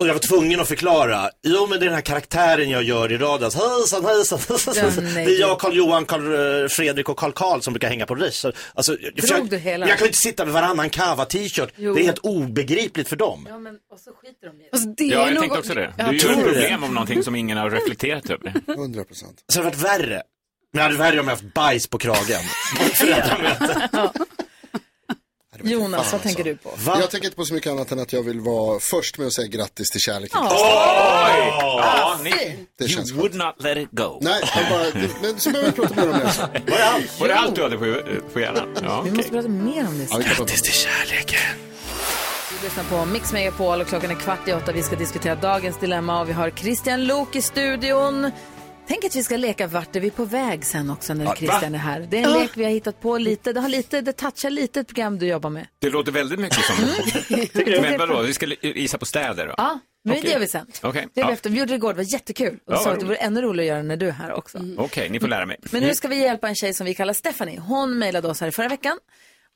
[SPEAKER 7] och jag var tvungen att förklara. Jo men det är den här karaktären jag gör i Radas. Hejsan, hejsan, hejsan.
[SPEAKER 1] nej,
[SPEAKER 7] Det är
[SPEAKER 1] du-
[SPEAKER 7] jag, Carl Johan, Carl eh, Fredrik och Carl Karl som brukar hänga på ris. Så, Alltså, jag, försöker-
[SPEAKER 1] du hela?
[SPEAKER 7] jag kan ju inte sitta med varannan kava t-shirt.
[SPEAKER 1] Jo.
[SPEAKER 7] Det är helt obegripligt för dem.
[SPEAKER 1] Ja, men, och så skiter de i
[SPEAKER 4] Alltså, det
[SPEAKER 10] Ja,
[SPEAKER 4] är
[SPEAKER 10] jag
[SPEAKER 4] något...
[SPEAKER 10] tänkte också det.
[SPEAKER 4] Ja,
[SPEAKER 10] Du gör
[SPEAKER 7] tror
[SPEAKER 10] ett
[SPEAKER 7] det.
[SPEAKER 10] problem om någonting som ingen har reflekterat över.
[SPEAKER 3] ordet. 100 procent.
[SPEAKER 7] Så det hade varit värre. Men det hade varit värre om jag haft bajs på
[SPEAKER 1] *laughs*
[SPEAKER 7] kragen. På ett föräldramöte.
[SPEAKER 1] Jonas, vad tänker du på?
[SPEAKER 7] Va?
[SPEAKER 3] Jag tänker inte på så mycket annat än att jag vill vara först med att säga grattis till kärleken.
[SPEAKER 10] Ja, ni...
[SPEAKER 3] Det känns
[SPEAKER 10] You would not let it go.
[SPEAKER 3] Nej, jag bara, men så behöver vi prata mer om det. sen.
[SPEAKER 4] *laughs*
[SPEAKER 7] Vad är allt?
[SPEAKER 10] Var det allt du hade på, på hjärnan? Ja,
[SPEAKER 1] Vi
[SPEAKER 10] okej.
[SPEAKER 1] måste prata mer om det
[SPEAKER 3] Ja,
[SPEAKER 1] sen.
[SPEAKER 3] vi kan prata om
[SPEAKER 7] Till kärleken.
[SPEAKER 1] Du lyssnar på Mix Megapol och klockan är kvart i åtta. Vi ska diskutera dagens dilemma och vi har Christian Lok i studion. Tänk att vi ska leka Vart är vi på väg sen också när Christian är här. Det är en lek vi har hittat på lite. Det, har lite, det touchar lite ett program du jobbar med.
[SPEAKER 10] Det låter väldigt mycket som det. Men vadå, vi ska gissa på städer då?
[SPEAKER 1] Ja, men
[SPEAKER 10] Okej.
[SPEAKER 1] det gör vi sen.
[SPEAKER 10] Okej,
[SPEAKER 1] Det gör vi
[SPEAKER 10] ja.
[SPEAKER 1] efter. Vi gjorde det igår, det var jättekul. Och
[SPEAKER 10] Ja,
[SPEAKER 1] du
[SPEAKER 10] vad
[SPEAKER 1] sa
[SPEAKER 10] Mm.
[SPEAKER 1] att det vore ännu roligare att göra när du är här också.
[SPEAKER 10] Okej, ni får lära mig.
[SPEAKER 1] Men nu ska vi hjälpa en tjej som vi kallar Stephanie. Hon mejlade oss här i förra veckan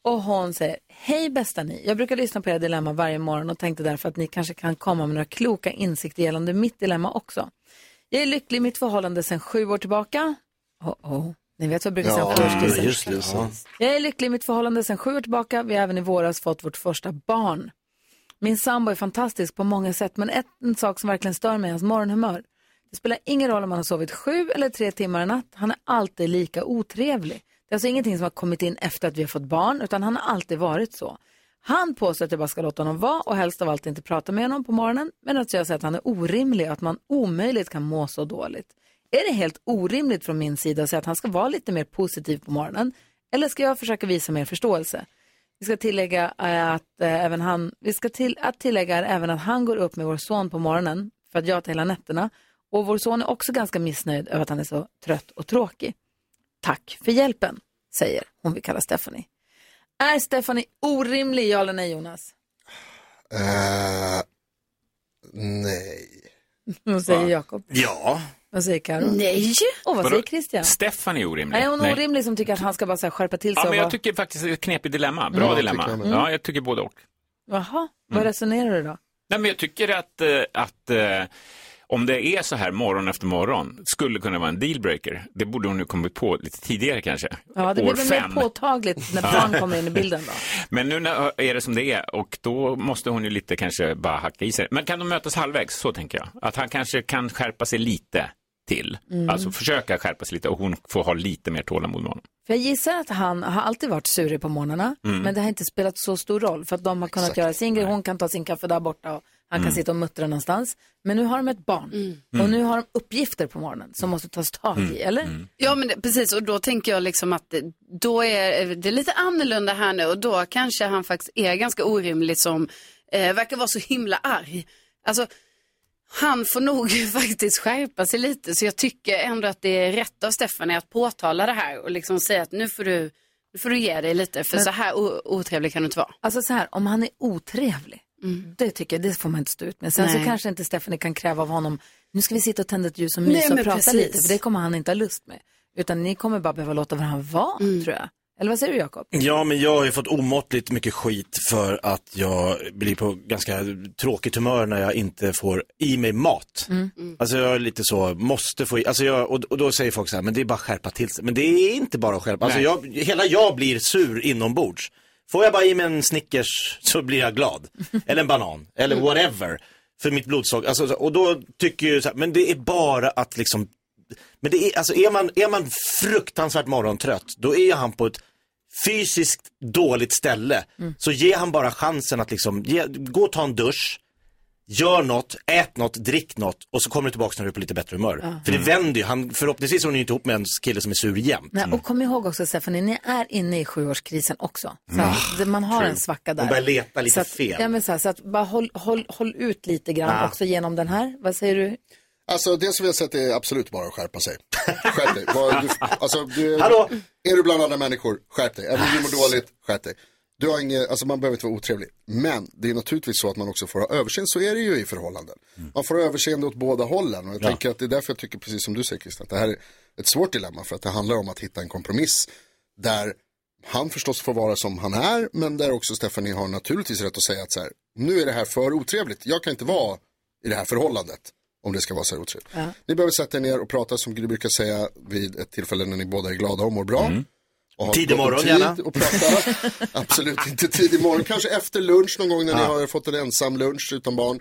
[SPEAKER 1] och hon säger, hej bästa ni. Jag brukar lyssna på era dilemma varje morgon och tänkte därför att ni kanske kan komma med några kloka insikter gällande mitt dilemma också. Jag är lycklig i mitt förhållande sedan sju år tillbaka. Oh, oh. Ni vet vad jag brukar säga om förhållanden.
[SPEAKER 7] Just det. så.
[SPEAKER 1] Jag är lycklig i mitt förhållande sedan sju år tillbaka. Vi har även i våras fått vårt första barn. Min sambo är fantastisk på många sätt, men ett, en sak som verkligen stör mig är hans morgonhumör. Det spelar ingen roll om han har sovit sju eller tre timmar i natt. Han är alltid lika otrevlig. Det är alltså ingenting som har kommit in efter att vi har fått barn, utan han har alltid varit så. Han påstår att jag bara ska låta honom vara och helst av allt inte prata med honom på morgonen, men att jag säger att han är orimlig och att man omöjligt kan må så dåligt. Är det helt orimligt från min sida att säga att han ska vara lite mer positiv på morgonen? Eller ska jag försöka visa mer förståelse? Vi ska tillägga eh, att eh, även han, vi ska till, att tillägga är även att han går upp med vår son på morgonen för att jag tar hela nätterna. Och vår son är också ganska missnöjd över att han är så trött och tråkig. Tack för hjälpen, säger hon vi kallar Stephanie. Är Stephanie orimlig, ja eller nej Jonas?
[SPEAKER 3] det. Eh, nej.
[SPEAKER 1] Vad säger Jakob?
[SPEAKER 7] Ja.
[SPEAKER 1] Vad säger Karo?
[SPEAKER 4] Nej!
[SPEAKER 1] Och vad
[SPEAKER 10] Vadå?
[SPEAKER 1] säger Christian?
[SPEAKER 10] Stefan är orimlig.
[SPEAKER 1] Är hon orimlig som tycker att han ska bara så här skärpa till sig?
[SPEAKER 10] Ja,
[SPEAKER 1] och
[SPEAKER 10] men jag
[SPEAKER 1] vara-
[SPEAKER 10] tycker faktiskt det är ett knepigt dilemma. Bra dilemma.
[SPEAKER 3] jag med.
[SPEAKER 10] ja, jag tycker både och. Mm.
[SPEAKER 1] Jaha, vad resonerar du då?
[SPEAKER 10] Nej, men jag tycker att, eh, att eh, om det är så här morgon efter morgon, skulle kunna vara en dealbreaker. Det borde hon nu kommit på lite tidigare kanske.
[SPEAKER 1] Ja, det
[SPEAKER 10] År
[SPEAKER 1] blir väl
[SPEAKER 10] fem.
[SPEAKER 1] mer
[SPEAKER 10] *laughs*
[SPEAKER 1] påtagligt när barn kommer in i bilden då.
[SPEAKER 10] Men nu när- eh, är det som det är och då måste hon ju lite kanske bara hacka i sig. Men kan de mötas halvvägs? Så tänker jag. Att han kanske kan skärpa sig lite till.
[SPEAKER 1] Mm.
[SPEAKER 10] Alltså försöka skärpa sig lite och hon får ha lite mer tålamod med honom.
[SPEAKER 1] För jag gissar att han har alltid varit surig på morgnarna,
[SPEAKER 10] Mm.
[SPEAKER 1] men det har inte spelat så stor roll för att de har kunnat göra sin grej. Hon kan ta sin kaffe där borta och han kan
[SPEAKER 10] Mm.
[SPEAKER 1] sitta och muttra någonstans. Men nu har de ett barn och
[SPEAKER 4] Mm.
[SPEAKER 1] nu har de uppgifter på morgonen som måste tas tag i,
[SPEAKER 10] Mm.
[SPEAKER 1] eller?
[SPEAKER 4] Ja, men det, precis. Och då tänker jag liksom att det- då är det är lite annorlunda här nu och då kanske han faktiskt är ganska orimlig som eh, verkar vara så himla arg. Alltså, han får nog *laughs* faktiskt skärpa sig lite så jag tycker ändå att det är rätt av Stephanie att påtala det här och liksom säga att nu får du, nu får du ge dig lite för
[SPEAKER 1] Men-
[SPEAKER 4] så här o- otrevlig kan du inte vara.
[SPEAKER 1] Alltså så här, om han är otrevlig, det tycker jag, det får man inte stå ut med. Sen så
[SPEAKER 4] Mm. Nej.
[SPEAKER 1] kanske inte Stephanie kan kräva av honom, nu ska vi sitta och tända ett ljus och
[SPEAKER 4] Nej,
[SPEAKER 1] mysa och
[SPEAKER 4] men
[SPEAKER 1] prata
[SPEAKER 4] precis.
[SPEAKER 1] lite, för det kommer han inte ha lust med. Utan ni kommer bara behöva låta varandra vara,
[SPEAKER 4] Mm.
[SPEAKER 1] tror jag. Eller vad säger du, Jakob?
[SPEAKER 7] Ja, men jag har ju fått omåttligt mycket skit för att jag blir på ganska tråkigt humör när jag inte får i mig mat. Alltså jag är lite så, måste få i, alltså jag, och, och då säger folk så här, men det är bara att skärpa till sig. Men det är inte bara att skärpa, alltså
[SPEAKER 10] Nej.
[SPEAKER 7] jag, hela jag blir sur inombords. Får jag bara i mig en Snickers så blir jag glad. Eller en banan, eller whatever. För mitt blodsocker, alltså, så- och då tycker jag så här, men det är bara att liksom men det är, alltså, är, man, är man fruktansvärt morgontrött, då är han på ett fysiskt dåligt ställe.
[SPEAKER 1] Mm.
[SPEAKER 7] Så ge han bara chansen att liksom, ge, gå och ta en dusch, gör något, ät något, drick något och så kommer du tillbaka när du är på lite bättre humör. För det vänder ju, han, förhoppningsvis är hon ju inte ihop med en kille som är sur jämt.
[SPEAKER 1] Mm. Nej, och kom ihåg också Stephanie, ni är inne i sjuårskrisen också. Så att man har en svacka där.
[SPEAKER 7] Hon börjar leta lite
[SPEAKER 1] så att,
[SPEAKER 7] fel.
[SPEAKER 1] Ja, men så, här, så att bara håll, håll, håll ut lite grann
[SPEAKER 3] Ah.
[SPEAKER 1] också genom den här. Vad säger du?
[SPEAKER 3] Alltså det som vi har sett är absolut bara att skärpa sig. Skärp dig. Vad- du, alltså, du,
[SPEAKER 7] Hallå?
[SPEAKER 3] Är du bland andra människor, skärp dig. Även om du mår dåligt, skärp dig. Du har inget, alltså man behöver inte vara otrevlig. Men det är naturligtvis så att man också får ha överseende, så är det ju i förhållanden. Man får ha överseende åt båda hållen. Och jag
[SPEAKER 7] Mm. Ja.
[SPEAKER 3] tänker att det är därför jag tycker, precis som du säger Christian, att det här är ett svårt dilemma. För att det handlar om att hitta en kompromiss där han förstås får vara som han är, men där också Stephanie har naturligtvis rätt att säga att så här, nu är det här för otrevligt. Jag kan inte vara i det här förhållandet om det ska vara så här otrevligt. Ni behöver sätta er ner och prata som Gry brukar säga vid ett tillfälle när ni båda är glada och mår bra. Och ha
[SPEAKER 7] Mm. Tidig
[SPEAKER 3] gott om
[SPEAKER 7] morgon
[SPEAKER 3] tid
[SPEAKER 7] gärna.
[SPEAKER 3] Och prata.
[SPEAKER 7] *laughs*
[SPEAKER 3] Absolut inte tidig morgon, kanske efter lunch någon gång när ni har fått en ensam lunch utan barn.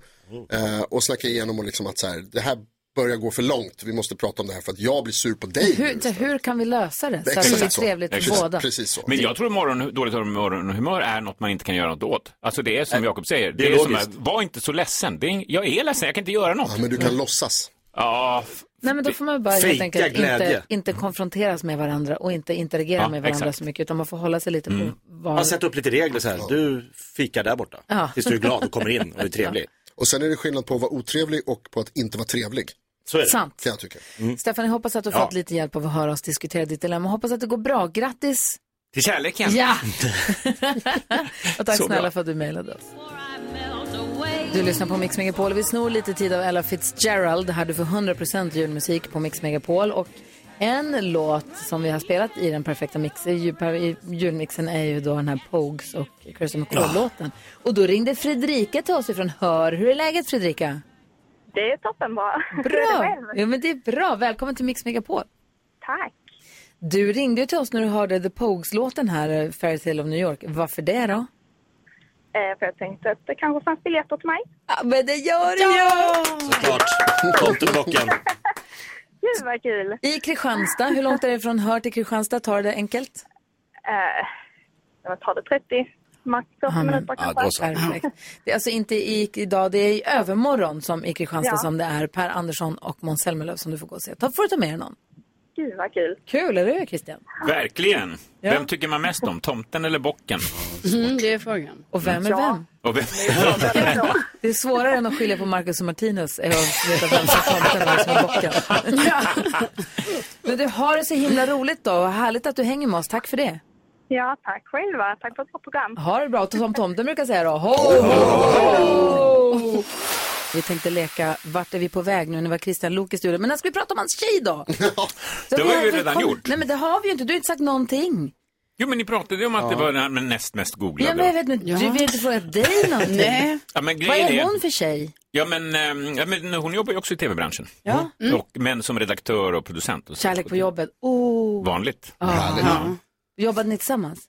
[SPEAKER 3] Eh, och snacka igenom och liksom att så här, det här börjar gå för långt, vi måste prata om det här för att jag blir sur på dig.
[SPEAKER 1] Hur, så, hur kan vi lösa det så att det blir trevligt för
[SPEAKER 3] Precis-
[SPEAKER 1] båda?
[SPEAKER 3] Precis så.
[SPEAKER 10] Men jag tror morgon, dåligt morgonhumör är något man inte kan göra något åt. Alltså det är som Jakob säger, det
[SPEAKER 7] är
[SPEAKER 10] är, som
[SPEAKER 7] logiskt.
[SPEAKER 10] att, var inte så ledsen. Det är, jag är ledsen, jag kan inte göra något.
[SPEAKER 3] Ja, men du kan låtsas.
[SPEAKER 10] Ja, f-
[SPEAKER 1] Nej, men då får man bara helt
[SPEAKER 7] Fejka
[SPEAKER 1] enkelt
[SPEAKER 7] glädje.
[SPEAKER 1] inte, inte konfronteras med varandra och inte interagera
[SPEAKER 10] Ja,
[SPEAKER 1] med varandra
[SPEAKER 10] exakt.
[SPEAKER 1] så mycket, utan man får hålla sig lite på var...
[SPEAKER 7] Han sätter upp lite regler så här, du fikar där borta.
[SPEAKER 1] Ja.
[SPEAKER 7] Tills du är glad och kommer in
[SPEAKER 1] *laughs*
[SPEAKER 7] och är trevlig.
[SPEAKER 3] Och sen är det skillnad på att vara otrevlig och på att inte vara trevlig.
[SPEAKER 7] Så är det.
[SPEAKER 1] Sant.
[SPEAKER 3] Kan jag tycka.
[SPEAKER 1] Stefan, jag hoppas att du har fått lite hjälp av att höra oss diskutera ditt dilemma. Hoppas att det går bra. Grattis!
[SPEAKER 10] till kärleken. *laughs*
[SPEAKER 1] Ja! och tack
[SPEAKER 10] Så
[SPEAKER 1] snälla
[SPEAKER 10] bra.
[SPEAKER 1] för att du mejlade oss. Du lyssnar på Mix Megapol. Vi snor lite tid av Ella Fitzgerald. Här du får 100% julmusik på Mix Megapol. Och en låt som vi har spelat i den perfekta mix, i ju- per- i julmixen är ju då den här Pogues och Kirsten McCall-låten. Och då ringde Fredrika till oss ifrån Hör. Hur är läget Fredrika?
[SPEAKER 11] Det är toppenbra.
[SPEAKER 1] Bra! Ja, men det är bra. Välkommen till Mix Megapol.
[SPEAKER 11] Tack.
[SPEAKER 1] Du ringde ju till oss när du hörde The Pogues-låten här, eh, Fairy Tale of New York. Varför det då?
[SPEAKER 11] Eh, för jag tänkte att det kanske fanns biljetter till mig.
[SPEAKER 1] Ja, men det gör det ju!
[SPEAKER 7] Klart. Tomtebocken.
[SPEAKER 11] Gud vad kul.
[SPEAKER 1] I Kristianstad, hur långt är det från Hör till Kristianstad? Tar det enkelt?
[SPEAKER 11] Eh, jag tar det 30, max 40 minuter kanske.
[SPEAKER 1] Perfekt. Det är alltså inte i, idag, det är i övermorgon som i Kristianstad
[SPEAKER 11] Ja.
[SPEAKER 1] som det är Per Andersson och Måns Zelmerlöw som du får gå och se. Ta, får du ta med dig någon?
[SPEAKER 11] Gud vad kul.
[SPEAKER 1] Kul, eller hur Christian?
[SPEAKER 10] Verkligen. Vem tycker man mest om, tomten eller bocken?
[SPEAKER 4] Mm, det är frågan.
[SPEAKER 1] Och vem är vem?
[SPEAKER 10] Och vem...
[SPEAKER 1] Det är svårare än att skilja på Marcus och Martinus är att veta vem som tomten är och vem som är bocken. Men du har det så himla roligt då och härligt att du hänger med oss. Tack för det.
[SPEAKER 11] Ja, tack själva. Tack för ett bra program.
[SPEAKER 1] Ha det bra. Och Som tomten brukar säga då. Ho, ho, ho. Vi tänkte leka Vart är vi på väg nu? när var Christian Lok i studion. Men när ska vi prata om hans
[SPEAKER 10] *laughs*
[SPEAKER 1] tjej då? Så
[SPEAKER 10] Det
[SPEAKER 1] vi
[SPEAKER 10] har vi ju
[SPEAKER 1] för-
[SPEAKER 10] redan
[SPEAKER 1] kom-
[SPEAKER 10] gjort.
[SPEAKER 1] Nej men det har vi ju inte. Du har inte sagt någonting.
[SPEAKER 10] *laughs* Jo, men ni pratade ju om att det var den men näst mest
[SPEAKER 1] Ja, men jag
[SPEAKER 10] googlade. *laughs*
[SPEAKER 1] vet, men du vill inte fråga dig någonting.
[SPEAKER 4] Nej.
[SPEAKER 10] Ja, men
[SPEAKER 1] Vad
[SPEAKER 10] grejen
[SPEAKER 1] är
[SPEAKER 10] är,
[SPEAKER 1] hon för tjej?
[SPEAKER 10] Ja men, ehm, ja, men hon jobbar ju också i tv-branschen.
[SPEAKER 1] Ja. Mm.
[SPEAKER 10] Och, men som redaktör och producent. Och så.
[SPEAKER 1] Kärlek på jobbet. Oh.
[SPEAKER 10] Vanligt.
[SPEAKER 1] Ja.
[SPEAKER 10] Ja.
[SPEAKER 1] Jobbade ni tillsammans?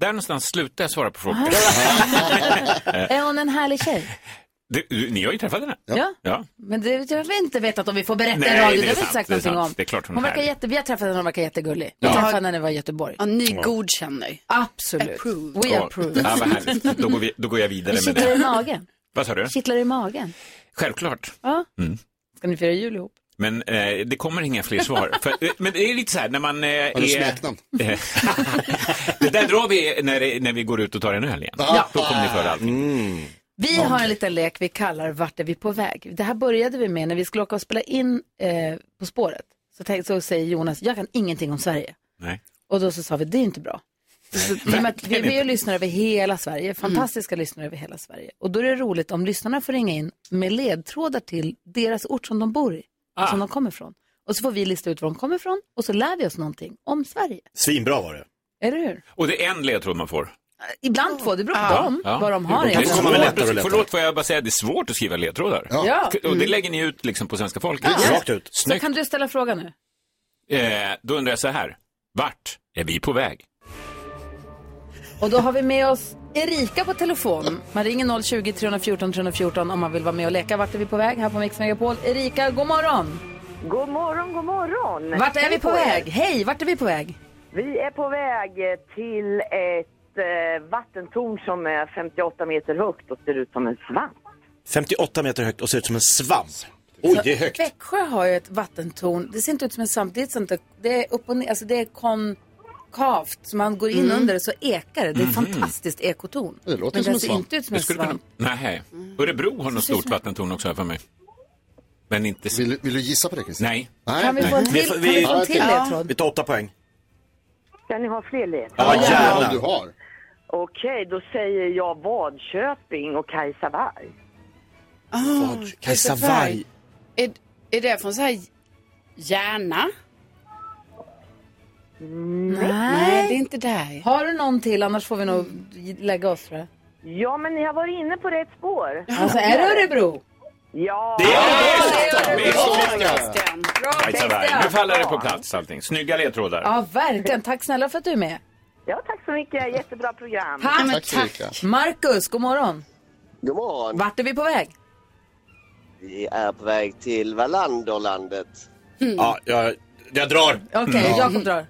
[SPEAKER 10] Där någonstans slutar jag svara på frågor.
[SPEAKER 1] Ah. Är hon en härlig tjej?
[SPEAKER 10] Du, du, ni har ju träffat henne.
[SPEAKER 1] Ja.
[SPEAKER 10] Eh. ja.
[SPEAKER 1] Men det jag har inte vetat om vi får berätta
[SPEAKER 10] Nej,
[SPEAKER 1] i radio.
[SPEAKER 10] det är
[SPEAKER 1] Det har vi
[SPEAKER 10] sant,
[SPEAKER 1] inte sagt
[SPEAKER 10] det är
[SPEAKER 1] någonting
[SPEAKER 10] sant.
[SPEAKER 1] om.
[SPEAKER 10] Det är klart hon är
[SPEAKER 1] verkar
[SPEAKER 10] härlig.
[SPEAKER 1] jätte, vi har träffat henne och hon verkar jättegullig. Vi
[SPEAKER 10] Ja.
[SPEAKER 1] träffade henne när vi var i Göteborg.
[SPEAKER 4] Ja, ni
[SPEAKER 10] Ja.
[SPEAKER 4] godkänner.
[SPEAKER 1] Absolut. We approve.
[SPEAKER 10] Ja, vad härligt. Då går, vi, då går jag vidare
[SPEAKER 1] Det
[SPEAKER 10] med
[SPEAKER 1] kittlar i
[SPEAKER 10] det.
[SPEAKER 1] magen.
[SPEAKER 10] Vad sa du?
[SPEAKER 1] Kittlar i magen.
[SPEAKER 10] Självklart.
[SPEAKER 1] Ja.
[SPEAKER 10] Mm.
[SPEAKER 1] Ska ni fira jul ihop?
[SPEAKER 10] Men eh, det kommer inga fler svar. För, eh, men det är lite så här när man... Eh,
[SPEAKER 1] Har du
[SPEAKER 3] smeknamn?
[SPEAKER 10] Eh, *laughs* det där drar vi när, det- när vi går ut och tar en öl igen.
[SPEAKER 1] Ja.
[SPEAKER 10] Då kommer ni föra allting.
[SPEAKER 1] Vi har en liten lek vi kallar Vart är vi på väg? Det här började vi med när vi skulle åka och spela in eh, På spåret. Så, tänkte, så säger Jonas, jag kan ingenting om Sverige.
[SPEAKER 10] Nej.
[SPEAKER 1] Och då så sa vi, det är inte bra. Så, i och med att vi vi är ju lyssnare över hela
[SPEAKER 10] Mm.
[SPEAKER 1] Sverige, fantastiska lyssnare över hela Sverige. Och då är det roligt om lyssnarna får ringa in med ledtrådar till deras ort som de bor i,
[SPEAKER 10] Ah.
[SPEAKER 1] och som de kommer ifrån. Och så får vi lista ut var de kommer ifrån och så lär vi oss någonting om Sverige.
[SPEAKER 10] Svinbra var det.
[SPEAKER 1] Eller hur?
[SPEAKER 10] Och det är en ledtråd man får.
[SPEAKER 1] Ibland två, det beror på dem, vad de har
[SPEAKER 10] Det är
[SPEAKER 1] egentligen.
[SPEAKER 10] svårt. Förlåt, får jag bara säga, det är svårt att skriva ledtrådar.
[SPEAKER 1] Ja.
[SPEAKER 10] Och det
[SPEAKER 1] Mm.
[SPEAKER 10] lägger ni ut liksom på svenska folket.
[SPEAKER 1] Ja.
[SPEAKER 10] Rakt ut.
[SPEAKER 1] Så
[SPEAKER 10] Snyggt.
[SPEAKER 1] kan du ställa frågan nu?
[SPEAKER 10] Eh, då undrar jag så här, vart är vi på väg?
[SPEAKER 1] Och då har vi med oss Erika på telefon. Man ringer 020 314 314 om man vill vara med och leka. Vart är vi på väg här på Mix Megapol? Erika, god morgon!
[SPEAKER 12] God morgon, god morgon!
[SPEAKER 1] Vart är vi på
[SPEAKER 12] Hej er.
[SPEAKER 1] väg? Hej, vart är vi på väg?
[SPEAKER 12] Vi är på väg till ett eh, vattentorn som är 58 meter högt och ser ut som en svamp.
[SPEAKER 7] 58 meter högt och ser ut som en svamp. Oj,
[SPEAKER 1] Så
[SPEAKER 7] det är högt.
[SPEAKER 1] Växjö har ju ett vattentorn. Det ser inte ut som en svamp. Det är, ett sånt där, det är upp och ner, alltså det är konkavt. Så man går in
[SPEAKER 10] Mm.
[SPEAKER 1] under det så ekar det. Det är ett
[SPEAKER 10] Mhm.
[SPEAKER 1] fantastiskt ekotorn. Men det ser inte ut som
[SPEAKER 10] Det
[SPEAKER 1] en
[SPEAKER 10] skulle
[SPEAKER 1] svamp.
[SPEAKER 10] Kunna... Nej. Örebro har något
[SPEAKER 1] ser ut
[SPEAKER 10] stort
[SPEAKER 1] som-
[SPEAKER 10] vattentorn också här för mig. Men inte...
[SPEAKER 3] Vill, du gissa på det, Christer?
[SPEAKER 10] Nej.
[SPEAKER 3] Nej.
[SPEAKER 1] Kan vi få en till-
[SPEAKER 7] Vi-
[SPEAKER 1] kan
[SPEAKER 7] vi-
[SPEAKER 1] vi få en till
[SPEAKER 7] Ja.
[SPEAKER 1] ledtråd?
[SPEAKER 7] Vi tar åtta poäng.
[SPEAKER 12] Ska ni ha fler led?
[SPEAKER 7] Ja, gärna.
[SPEAKER 3] Du har.
[SPEAKER 12] Okej, då säger jag Vadköping och Kajsaberg.
[SPEAKER 4] Ah,
[SPEAKER 12] Kajsaberg.
[SPEAKER 4] Är, är det från så här Järna?
[SPEAKER 1] Nej.
[SPEAKER 4] Nej, det är inte där.
[SPEAKER 1] Har du någon till? Annars får vi nog lägga oss tror jag.
[SPEAKER 12] Ja, men ni har varit inne på rätt spår.
[SPEAKER 1] Alltså är det Örebro?
[SPEAKER 12] Ja!
[SPEAKER 10] Det är
[SPEAKER 1] det! Det är
[SPEAKER 10] Örebro!
[SPEAKER 1] Bra
[SPEAKER 10] Kajsaberg. Nu faller det på plats allting. Snygga ledtrådar.
[SPEAKER 1] Ja, verkligen. Tack snälla för att du är med.
[SPEAKER 12] Ja, tack så mycket. Jättebra program.
[SPEAKER 1] Tack. Tack, Marcus, god morgon.
[SPEAKER 13] God morgon.
[SPEAKER 1] Vart är vi på väg?
[SPEAKER 13] Vi är på väg till Wallanderlandet.
[SPEAKER 1] Mm.
[SPEAKER 7] Ja, jag, jag drar.
[SPEAKER 1] Okej, Jakob drar.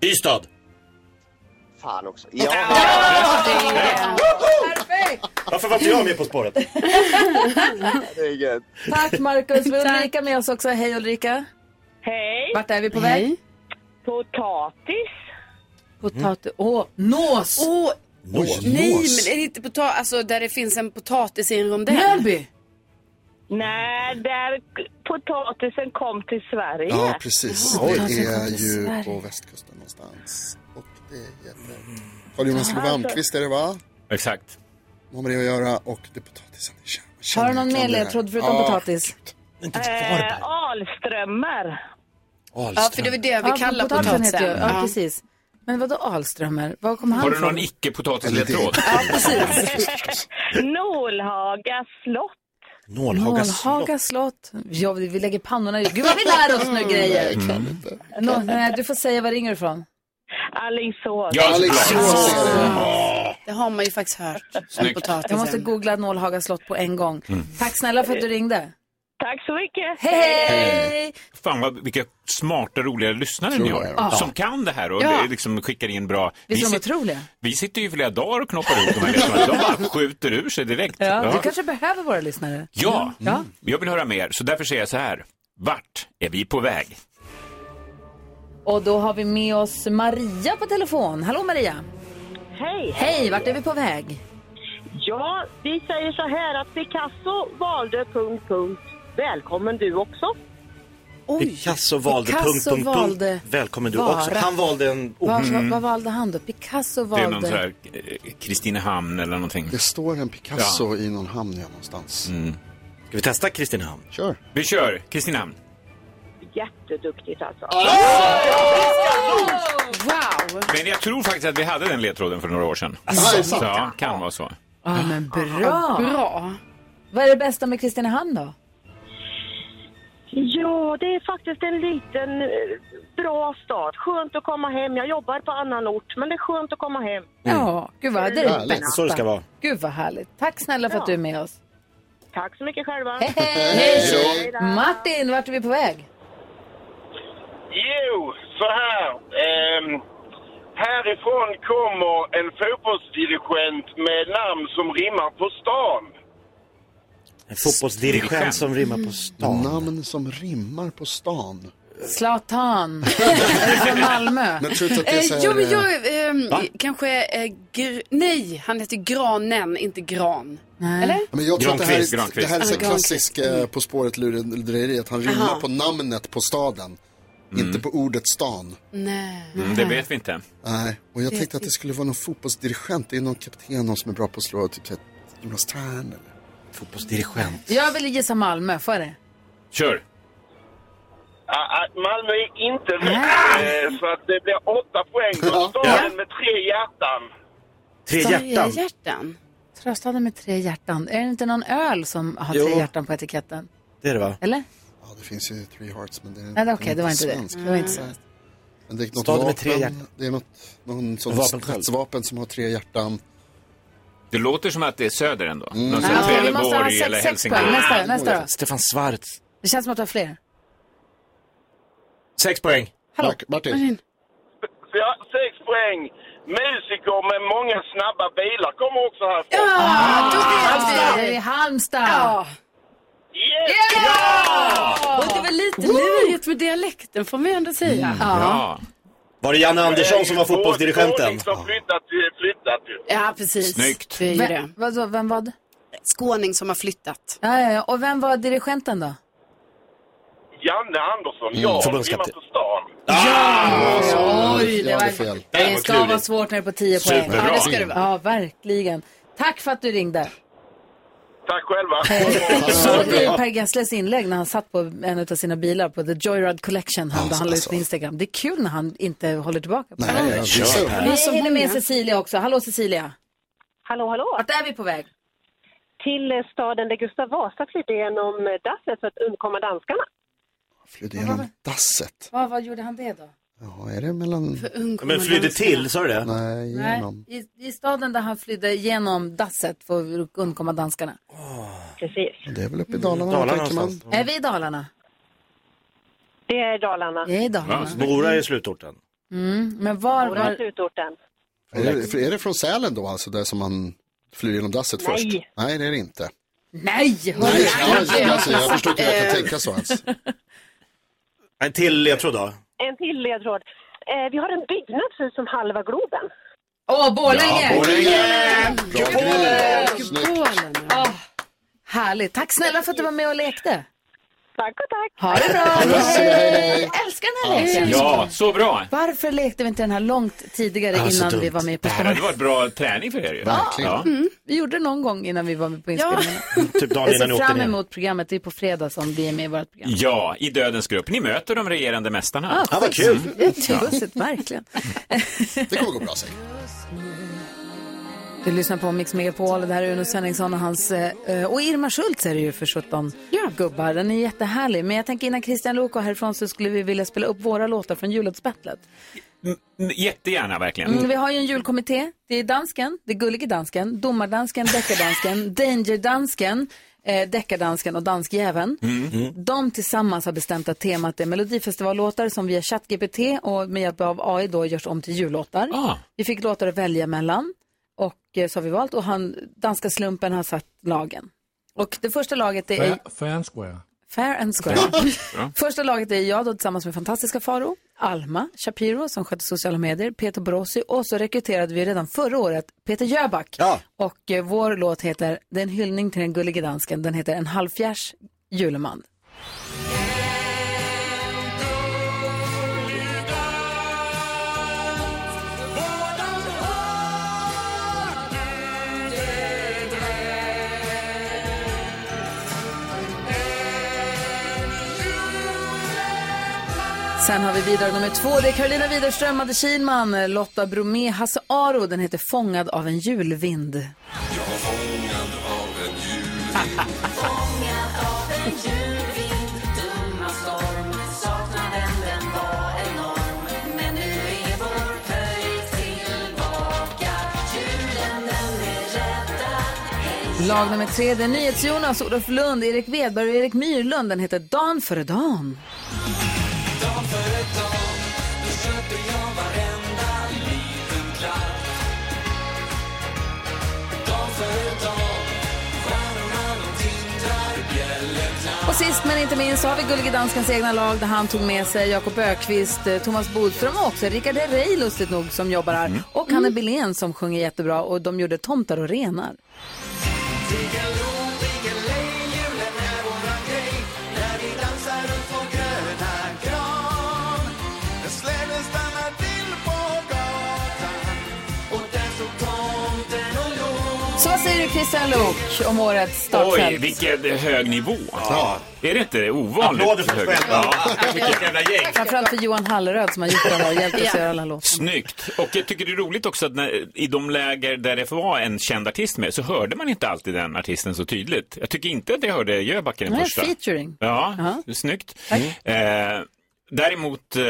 [SPEAKER 7] Ystad.
[SPEAKER 13] Fan också. Ja.
[SPEAKER 1] Perfekt!
[SPEAKER 7] Varför var inte jag med På spåret?
[SPEAKER 13] Det är gött.
[SPEAKER 1] Tack Marcus. Vi har Ulrika med oss också. Hej Ulrika.
[SPEAKER 12] Hej.
[SPEAKER 1] Vart är vi på väg?
[SPEAKER 12] Hej. Potatis.
[SPEAKER 1] Potatis. Åh, nås!
[SPEAKER 4] Åh,
[SPEAKER 1] Nås.
[SPEAKER 4] Nej, men är det inte potatis, alltså där det finns en potatis i en rondell?
[SPEAKER 1] Mjölby!
[SPEAKER 12] Nej, där k- potatisen kom till Sverige.
[SPEAKER 3] Ja, precis. Det är ju
[SPEAKER 12] Sverige.
[SPEAKER 3] på västkusten någonstans. Och det gäller... Carl-Jonas Lövamqvist är det, va?
[SPEAKER 10] Exakt.
[SPEAKER 3] De har med det att göra och det är potatisen. Jag känner- jag
[SPEAKER 1] Har du någon
[SPEAKER 3] kan
[SPEAKER 1] mer
[SPEAKER 3] det här.
[SPEAKER 1] ledtråd förutom
[SPEAKER 3] Ja.
[SPEAKER 1] potatis?
[SPEAKER 12] Eh,
[SPEAKER 1] *laughs*
[SPEAKER 12] Alströmmar.
[SPEAKER 4] Ja, för det var det vi
[SPEAKER 1] Ja,
[SPEAKER 4] kallar
[SPEAKER 1] potatisen
[SPEAKER 4] potatisen.
[SPEAKER 1] heter ju- Ja,
[SPEAKER 4] Ja.
[SPEAKER 1] precis. Men vadå Alströmer? Var kom han
[SPEAKER 10] Har du
[SPEAKER 1] ifrån?
[SPEAKER 10] någon icke-potatisledtråd?
[SPEAKER 12] Nålhaga slott.
[SPEAKER 1] Nålhaga slott. Ja, vi vi lägger pannorna i. Gud vad vi lär oss nu grejer.
[SPEAKER 3] Mm.
[SPEAKER 1] Nå, nej, du får säga, var ringer du ifrån?
[SPEAKER 12] Alingsås.
[SPEAKER 10] Ja,
[SPEAKER 1] Alingsås.
[SPEAKER 4] Det har man ju faktiskt hört.
[SPEAKER 10] Snyggt.
[SPEAKER 1] Jag måste googla Nålhaga slott på en gång.
[SPEAKER 10] Mm.
[SPEAKER 1] Tack snälla för att du ringde.
[SPEAKER 12] Tack så mycket.
[SPEAKER 1] Hej!
[SPEAKER 10] Fan vad, vilka smarta, roliga lyssnare
[SPEAKER 1] Tror
[SPEAKER 10] ni
[SPEAKER 1] jag,
[SPEAKER 10] har.
[SPEAKER 1] ja.
[SPEAKER 10] Som kan det här och
[SPEAKER 1] Ja.
[SPEAKER 10] det liksom skickar in bra.
[SPEAKER 1] Visst är de
[SPEAKER 10] sit-
[SPEAKER 1] otroliga?
[SPEAKER 10] vi sitter ju i flera dagar och knoppar ihop de här ledtrådarna. De
[SPEAKER 1] *laughs*
[SPEAKER 10] bara skjuter ur sig direkt.
[SPEAKER 1] Ja, du kanske behöver våra lyssnare.
[SPEAKER 10] Ja,
[SPEAKER 1] Ja.
[SPEAKER 10] jag vill höra mer. Så därför säger jag så här. Vart är vi på väg?
[SPEAKER 1] Och då har vi med oss Maria på telefon. Hallå Maria!
[SPEAKER 12] Hej!
[SPEAKER 1] Hej, vart är vi på väg?
[SPEAKER 12] Ja, vi säger så här att Picasso valde punkt, punkt. Välkommen du också.
[SPEAKER 7] Picasso valde
[SPEAKER 1] Picasso
[SPEAKER 7] punkt, punkt,
[SPEAKER 1] valde
[SPEAKER 7] punkt. Välkommen du
[SPEAKER 1] vara.
[SPEAKER 7] också. Han valde en...
[SPEAKER 1] Vad-
[SPEAKER 10] Mm.
[SPEAKER 1] vad- vad valde han då? Picasso
[SPEAKER 10] Det är någon
[SPEAKER 1] valde...
[SPEAKER 10] sån här eh, Kristinehamn eller någonting.
[SPEAKER 3] Det står en Picasso i någon hamn ja, någonstans.
[SPEAKER 10] Ska vi testa Kristinehamn?
[SPEAKER 3] Kör.
[SPEAKER 10] Vi kör Kristinehamn.
[SPEAKER 12] Jätteduktigt alltså.
[SPEAKER 4] Wow!
[SPEAKER 10] Men jag tror faktiskt att vi hade den ledtråden för några år sedan.
[SPEAKER 1] Asså.
[SPEAKER 10] Så, ja, kan vara så.
[SPEAKER 1] Ja, men bra.
[SPEAKER 4] Bra.
[SPEAKER 1] Vad är det bästa med Kristinehamn då?
[SPEAKER 14] Ja, det är faktiskt en liten eh, bra stad. Skönt att komma hem. Jag jobbar på annan ort, men det är skönt att komma hem.
[SPEAKER 1] Ja, gud vad, det är det
[SPEAKER 14] Härligt.
[SPEAKER 1] bästa.
[SPEAKER 14] Så det ska vara.
[SPEAKER 1] Gud vad härligt. Tack snälla för att
[SPEAKER 14] Ja.
[SPEAKER 1] du är med oss.
[SPEAKER 14] Tack så mycket själva.
[SPEAKER 1] Hej! Martin, vart är vi på väg?
[SPEAKER 15] Jo, så här. ehm, härifrån kommer en fotbollsdirigent med namn som rimmar på stan.
[SPEAKER 7] En fotbollsdirigent som rimmar
[SPEAKER 1] Mm.
[SPEAKER 7] på stan.
[SPEAKER 3] Namn som rimmar på stan.
[SPEAKER 1] Zlatan. är du från Malmö?
[SPEAKER 3] Men tror du att det är så här,
[SPEAKER 4] jo, men
[SPEAKER 3] eh,
[SPEAKER 4] jag ehm,
[SPEAKER 3] va?
[SPEAKER 4] kanske... Eh, gr- nej, han heter Granen, inte Gran. Eller?
[SPEAKER 3] Ja, Men jag tror att det här,
[SPEAKER 9] Granqvist,
[SPEAKER 3] är- det här är
[SPEAKER 4] Granqvist.
[SPEAKER 3] så
[SPEAKER 4] Ah,
[SPEAKER 3] klassisk eh, På spåret lurendrejeri, att han rimmar
[SPEAKER 4] Aha.
[SPEAKER 3] på namnet på staden. Inte på ordet stan.
[SPEAKER 4] Nej.
[SPEAKER 10] Mm, det vet vi inte.
[SPEAKER 3] Nej, och jag
[SPEAKER 4] Det-
[SPEAKER 3] tänkte att det skulle vara någon fotbollsdirigent. Det är någon kapten någon som är bra på att slå, typ så här, Jonas Tern eller?
[SPEAKER 7] Fotbollsdirigent.
[SPEAKER 1] Jag vill gissa Malmö, får jag det?
[SPEAKER 10] Kör.
[SPEAKER 15] Ah, ah, Malmö är inte rätt, eh, så att det blir åtta poäng för staden med tre hjärtan.
[SPEAKER 7] Tre
[SPEAKER 1] hjärtan.
[SPEAKER 4] hjärtan.
[SPEAKER 1] Tröstade med tre hjärtan. Är det inte någon öl som har
[SPEAKER 3] Jo.
[SPEAKER 1] tre hjärtan på etiketten?
[SPEAKER 7] Det är det va?
[SPEAKER 1] Eller?
[SPEAKER 3] Ja, det finns ju Three Hearts men det är
[SPEAKER 1] Nej, det- okej, det var inte det.
[SPEAKER 3] svensk.
[SPEAKER 1] Det var inte svenskt.
[SPEAKER 3] Men det är något
[SPEAKER 7] Staden
[SPEAKER 3] vapen,
[SPEAKER 7] med tre hjärtan.
[SPEAKER 3] Det är något, någon sån
[SPEAKER 10] Vapensköld.
[SPEAKER 3] stridsvapen som har tre hjärtan.
[SPEAKER 10] Det låter som att det är söder ändå. Mm.
[SPEAKER 1] Ja, vi måste ha sex- sex poäng. Nästa, nästa då.
[SPEAKER 7] Stefan Schwarz.
[SPEAKER 1] Det känns som att du har fler.
[SPEAKER 7] Sex poäng.
[SPEAKER 1] Hallå.
[SPEAKER 7] Martin.
[SPEAKER 15] Så jag, sex poäng. Musiker med många snabba bilar kommer också härifrån.
[SPEAKER 1] Ja, då vet vi. Det är Halmstad. Ja!
[SPEAKER 4] Och det var lite lurigt med dialekten, får man ju ändå säga.
[SPEAKER 7] Ja. Var det Janne Andersson som var fotbollsdirigenten?
[SPEAKER 15] Flyttat, flyttat ju.
[SPEAKER 4] Ja, precis.
[SPEAKER 7] Snyggt.
[SPEAKER 4] Det är ju
[SPEAKER 1] Vem-
[SPEAKER 4] det.
[SPEAKER 1] Vad, så, vem vad?
[SPEAKER 4] Skåning som har flyttat.
[SPEAKER 1] Ja, ja, ja. Och vem var dirigenten då?
[SPEAKER 15] Janne Andersson,
[SPEAKER 7] Mm,
[SPEAKER 15] ja.
[SPEAKER 7] förbundskapten.
[SPEAKER 15] Rimmar på stan.
[SPEAKER 1] Ja, Oj,
[SPEAKER 15] Ja,
[SPEAKER 1] det,
[SPEAKER 15] det
[SPEAKER 1] var,
[SPEAKER 15] är fel.
[SPEAKER 1] det,
[SPEAKER 15] Det var
[SPEAKER 1] ska
[SPEAKER 15] klurigt.
[SPEAKER 1] vara svårt när det är på 10 poäng.
[SPEAKER 15] Superbra. Ja, det ska det vara.
[SPEAKER 1] Ja, verkligen. Tack för att du ringde.
[SPEAKER 15] Tack själva.
[SPEAKER 1] Såg du Per Gessles inlägg när han satt på en av sina bilar på The Joyride Collection han, han la ut på Instagram? Det är kul när han inte håller tillbaka. på det.
[SPEAKER 3] Nej, jag gissar
[SPEAKER 1] Vi
[SPEAKER 3] på-
[SPEAKER 1] hinner med Cecilia också. Hallå Cecilia.
[SPEAKER 14] Hallå, hallå.
[SPEAKER 1] Vart är vi på väg?
[SPEAKER 14] Till eh, staden där Gustav Vasa flydde genom eh, dasset för att undkomma danskarna.
[SPEAKER 3] Flydde genom dasset.
[SPEAKER 1] Vad, vad gjorde han det då?
[SPEAKER 3] Ja, är det mellan...
[SPEAKER 7] Men flydde till, sa du det?
[SPEAKER 3] Nej,
[SPEAKER 1] Nej,
[SPEAKER 3] genom.
[SPEAKER 1] i, I staden där han flydde genom dasset för att undkomma danskarna.
[SPEAKER 14] Precis.
[SPEAKER 3] Det är väl uppe i Dalarna,
[SPEAKER 7] Dalarna
[SPEAKER 3] tänker man.
[SPEAKER 7] någonstans.
[SPEAKER 1] Är vi i Dalarna?
[SPEAKER 14] Det är Dalarna.
[SPEAKER 1] Det är Dalarna.
[SPEAKER 7] Mora är slutorten.
[SPEAKER 1] Mm, men var,
[SPEAKER 14] Mora är
[SPEAKER 1] var...
[SPEAKER 14] slutorten.
[SPEAKER 3] Är det, för är det från Sälen då, alltså där som man flyr genom dasset
[SPEAKER 14] Nej.
[SPEAKER 3] först? Nej, det är det inte.
[SPEAKER 1] Nej!
[SPEAKER 3] Nej, jag, alltså, jag förstår inte hur jag kan tänka så alltså. ens.
[SPEAKER 7] En till ledtråd då?
[SPEAKER 14] En till ledtråd. Eh, vi har en byggnad som ser ut som halva Globen.
[SPEAKER 1] Åh, Borlänge!
[SPEAKER 14] Ja, Borlänge!
[SPEAKER 1] Bra grill! Åh, Härligt. Tack snälla för att du var med och lekte.
[SPEAKER 14] Tack och tack.
[SPEAKER 1] Ha det bra.
[SPEAKER 10] Hej, hej, hej.
[SPEAKER 1] Älskar den här leken.
[SPEAKER 10] Ja, så bra.
[SPEAKER 1] Varför lekte vi inte den här långt tidigare
[SPEAKER 10] Ja, så
[SPEAKER 1] innan
[SPEAKER 10] dumt.
[SPEAKER 1] vi var med på
[SPEAKER 10] Det här hade varit bra träning för er ju.
[SPEAKER 1] Verkligen.
[SPEAKER 10] Ja.
[SPEAKER 1] Mm, vi gjorde det någon gång innan vi var med på
[SPEAKER 10] *laughs*
[SPEAKER 1] inspelningen.
[SPEAKER 10] Typ
[SPEAKER 1] Jag ser fram emot programmet. Det är på fredag som vi är med i vårt program.
[SPEAKER 10] Ja, i Dödens grupp. Ni möter de regerande mästarna.
[SPEAKER 1] Ah,
[SPEAKER 10] Ja,
[SPEAKER 1] schysst.
[SPEAKER 10] *laughs*
[SPEAKER 1] Jättebussigt, verkligen.
[SPEAKER 3] Det kommer gå bra säkert.
[SPEAKER 1] Du lyssnar på Mix Megapol och det här är Uno Svenningsson och hans, eh, och Irma Schultz är det ju för 17 gubbar. Den är jättehärlig. Men jag tänker innan Christian Lok går härifrån så skulle vi vilja spela upp våra låtar från jullåtsbattlet.
[SPEAKER 10] Mm, Jättegärna verkligen.
[SPEAKER 1] Mm, vi har ju en julkommitté. Det är dansken, det är gullige dansken, domardansken, deckardansken, dangerdansken, eh, deckardansken och danskjäveln. De tillsammans har bestämt att temat är melodifestivallåtar som via ChatGPT och med hjälp av AI då görs om till jullåtar. Vi fick låtar att välja mellan och eh, så har vi valt och han, danska slumpen har satt lagen. Och det första laget det är
[SPEAKER 5] Fair, fair and square.
[SPEAKER 1] Fair and Square. *laughs* Första laget är jag då tillsammans med fantastiska Faro, Alma Shapiro som sköter sociala medier, Peter Borossi och så rekryterade vi redan förra året Peter Jöback. Och eh, vår låt heter, det är en hyllning till den gullige dansken, den heter En halvfjärs juleman. Sen har vi bidrag nummer två. Det är Carolina Widerström, Madde Kihlman, Lotta Bromé, Hasse Aro. Den heter Fångad av en julvind.
[SPEAKER 8] Jag var fångad av en julvind
[SPEAKER 1] Lag nummer tre, det är NyhetsJonas, Olof Lund, Erik Wedberg och Erik Myrlund. Den heter Dan före Dan. Och sist men inte minst så har vi Gullige Danskans egna lag där han tog med sig Jakob Ökvist, eh, Thomas Bodström och också Rickard Herrey lustigt nog som jobbar
[SPEAKER 10] Mm.
[SPEAKER 1] här. Och Hanne Billén som sjunger jättebra och de gjorde Tomtar och renar. Så vad säger du Christian Luuk om årets startfält?
[SPEAKER 10] Oj, vilken hög nivå. Är det inte ovanligt Applåder för hög? Ja, vilket jävla gäng.
[SPEAKER 1] Framförallt för Johan Halleröd som har gjort
[SPEAKER 10] *laughs*
[SPEAKER 1] det här och hjälpt oss göra alla låtar.
[SPEAKER 10] Snyggt! Och jag tycker det är roligt också att när, i de läger där det var en känd artist med så hörde man inte alltid den artisten så tydligt. Jag tycker inte att jag hörde Jöback i den
[SPEAKER 1] Nej,
[SPEAKER 10] första.
[SPEAKER 1] featuring.
[SPEAKER 10] Ja,
[SPEAKER 1] Ja.
[SPEAKER 10] det är snyggt. Eh, däremot eh,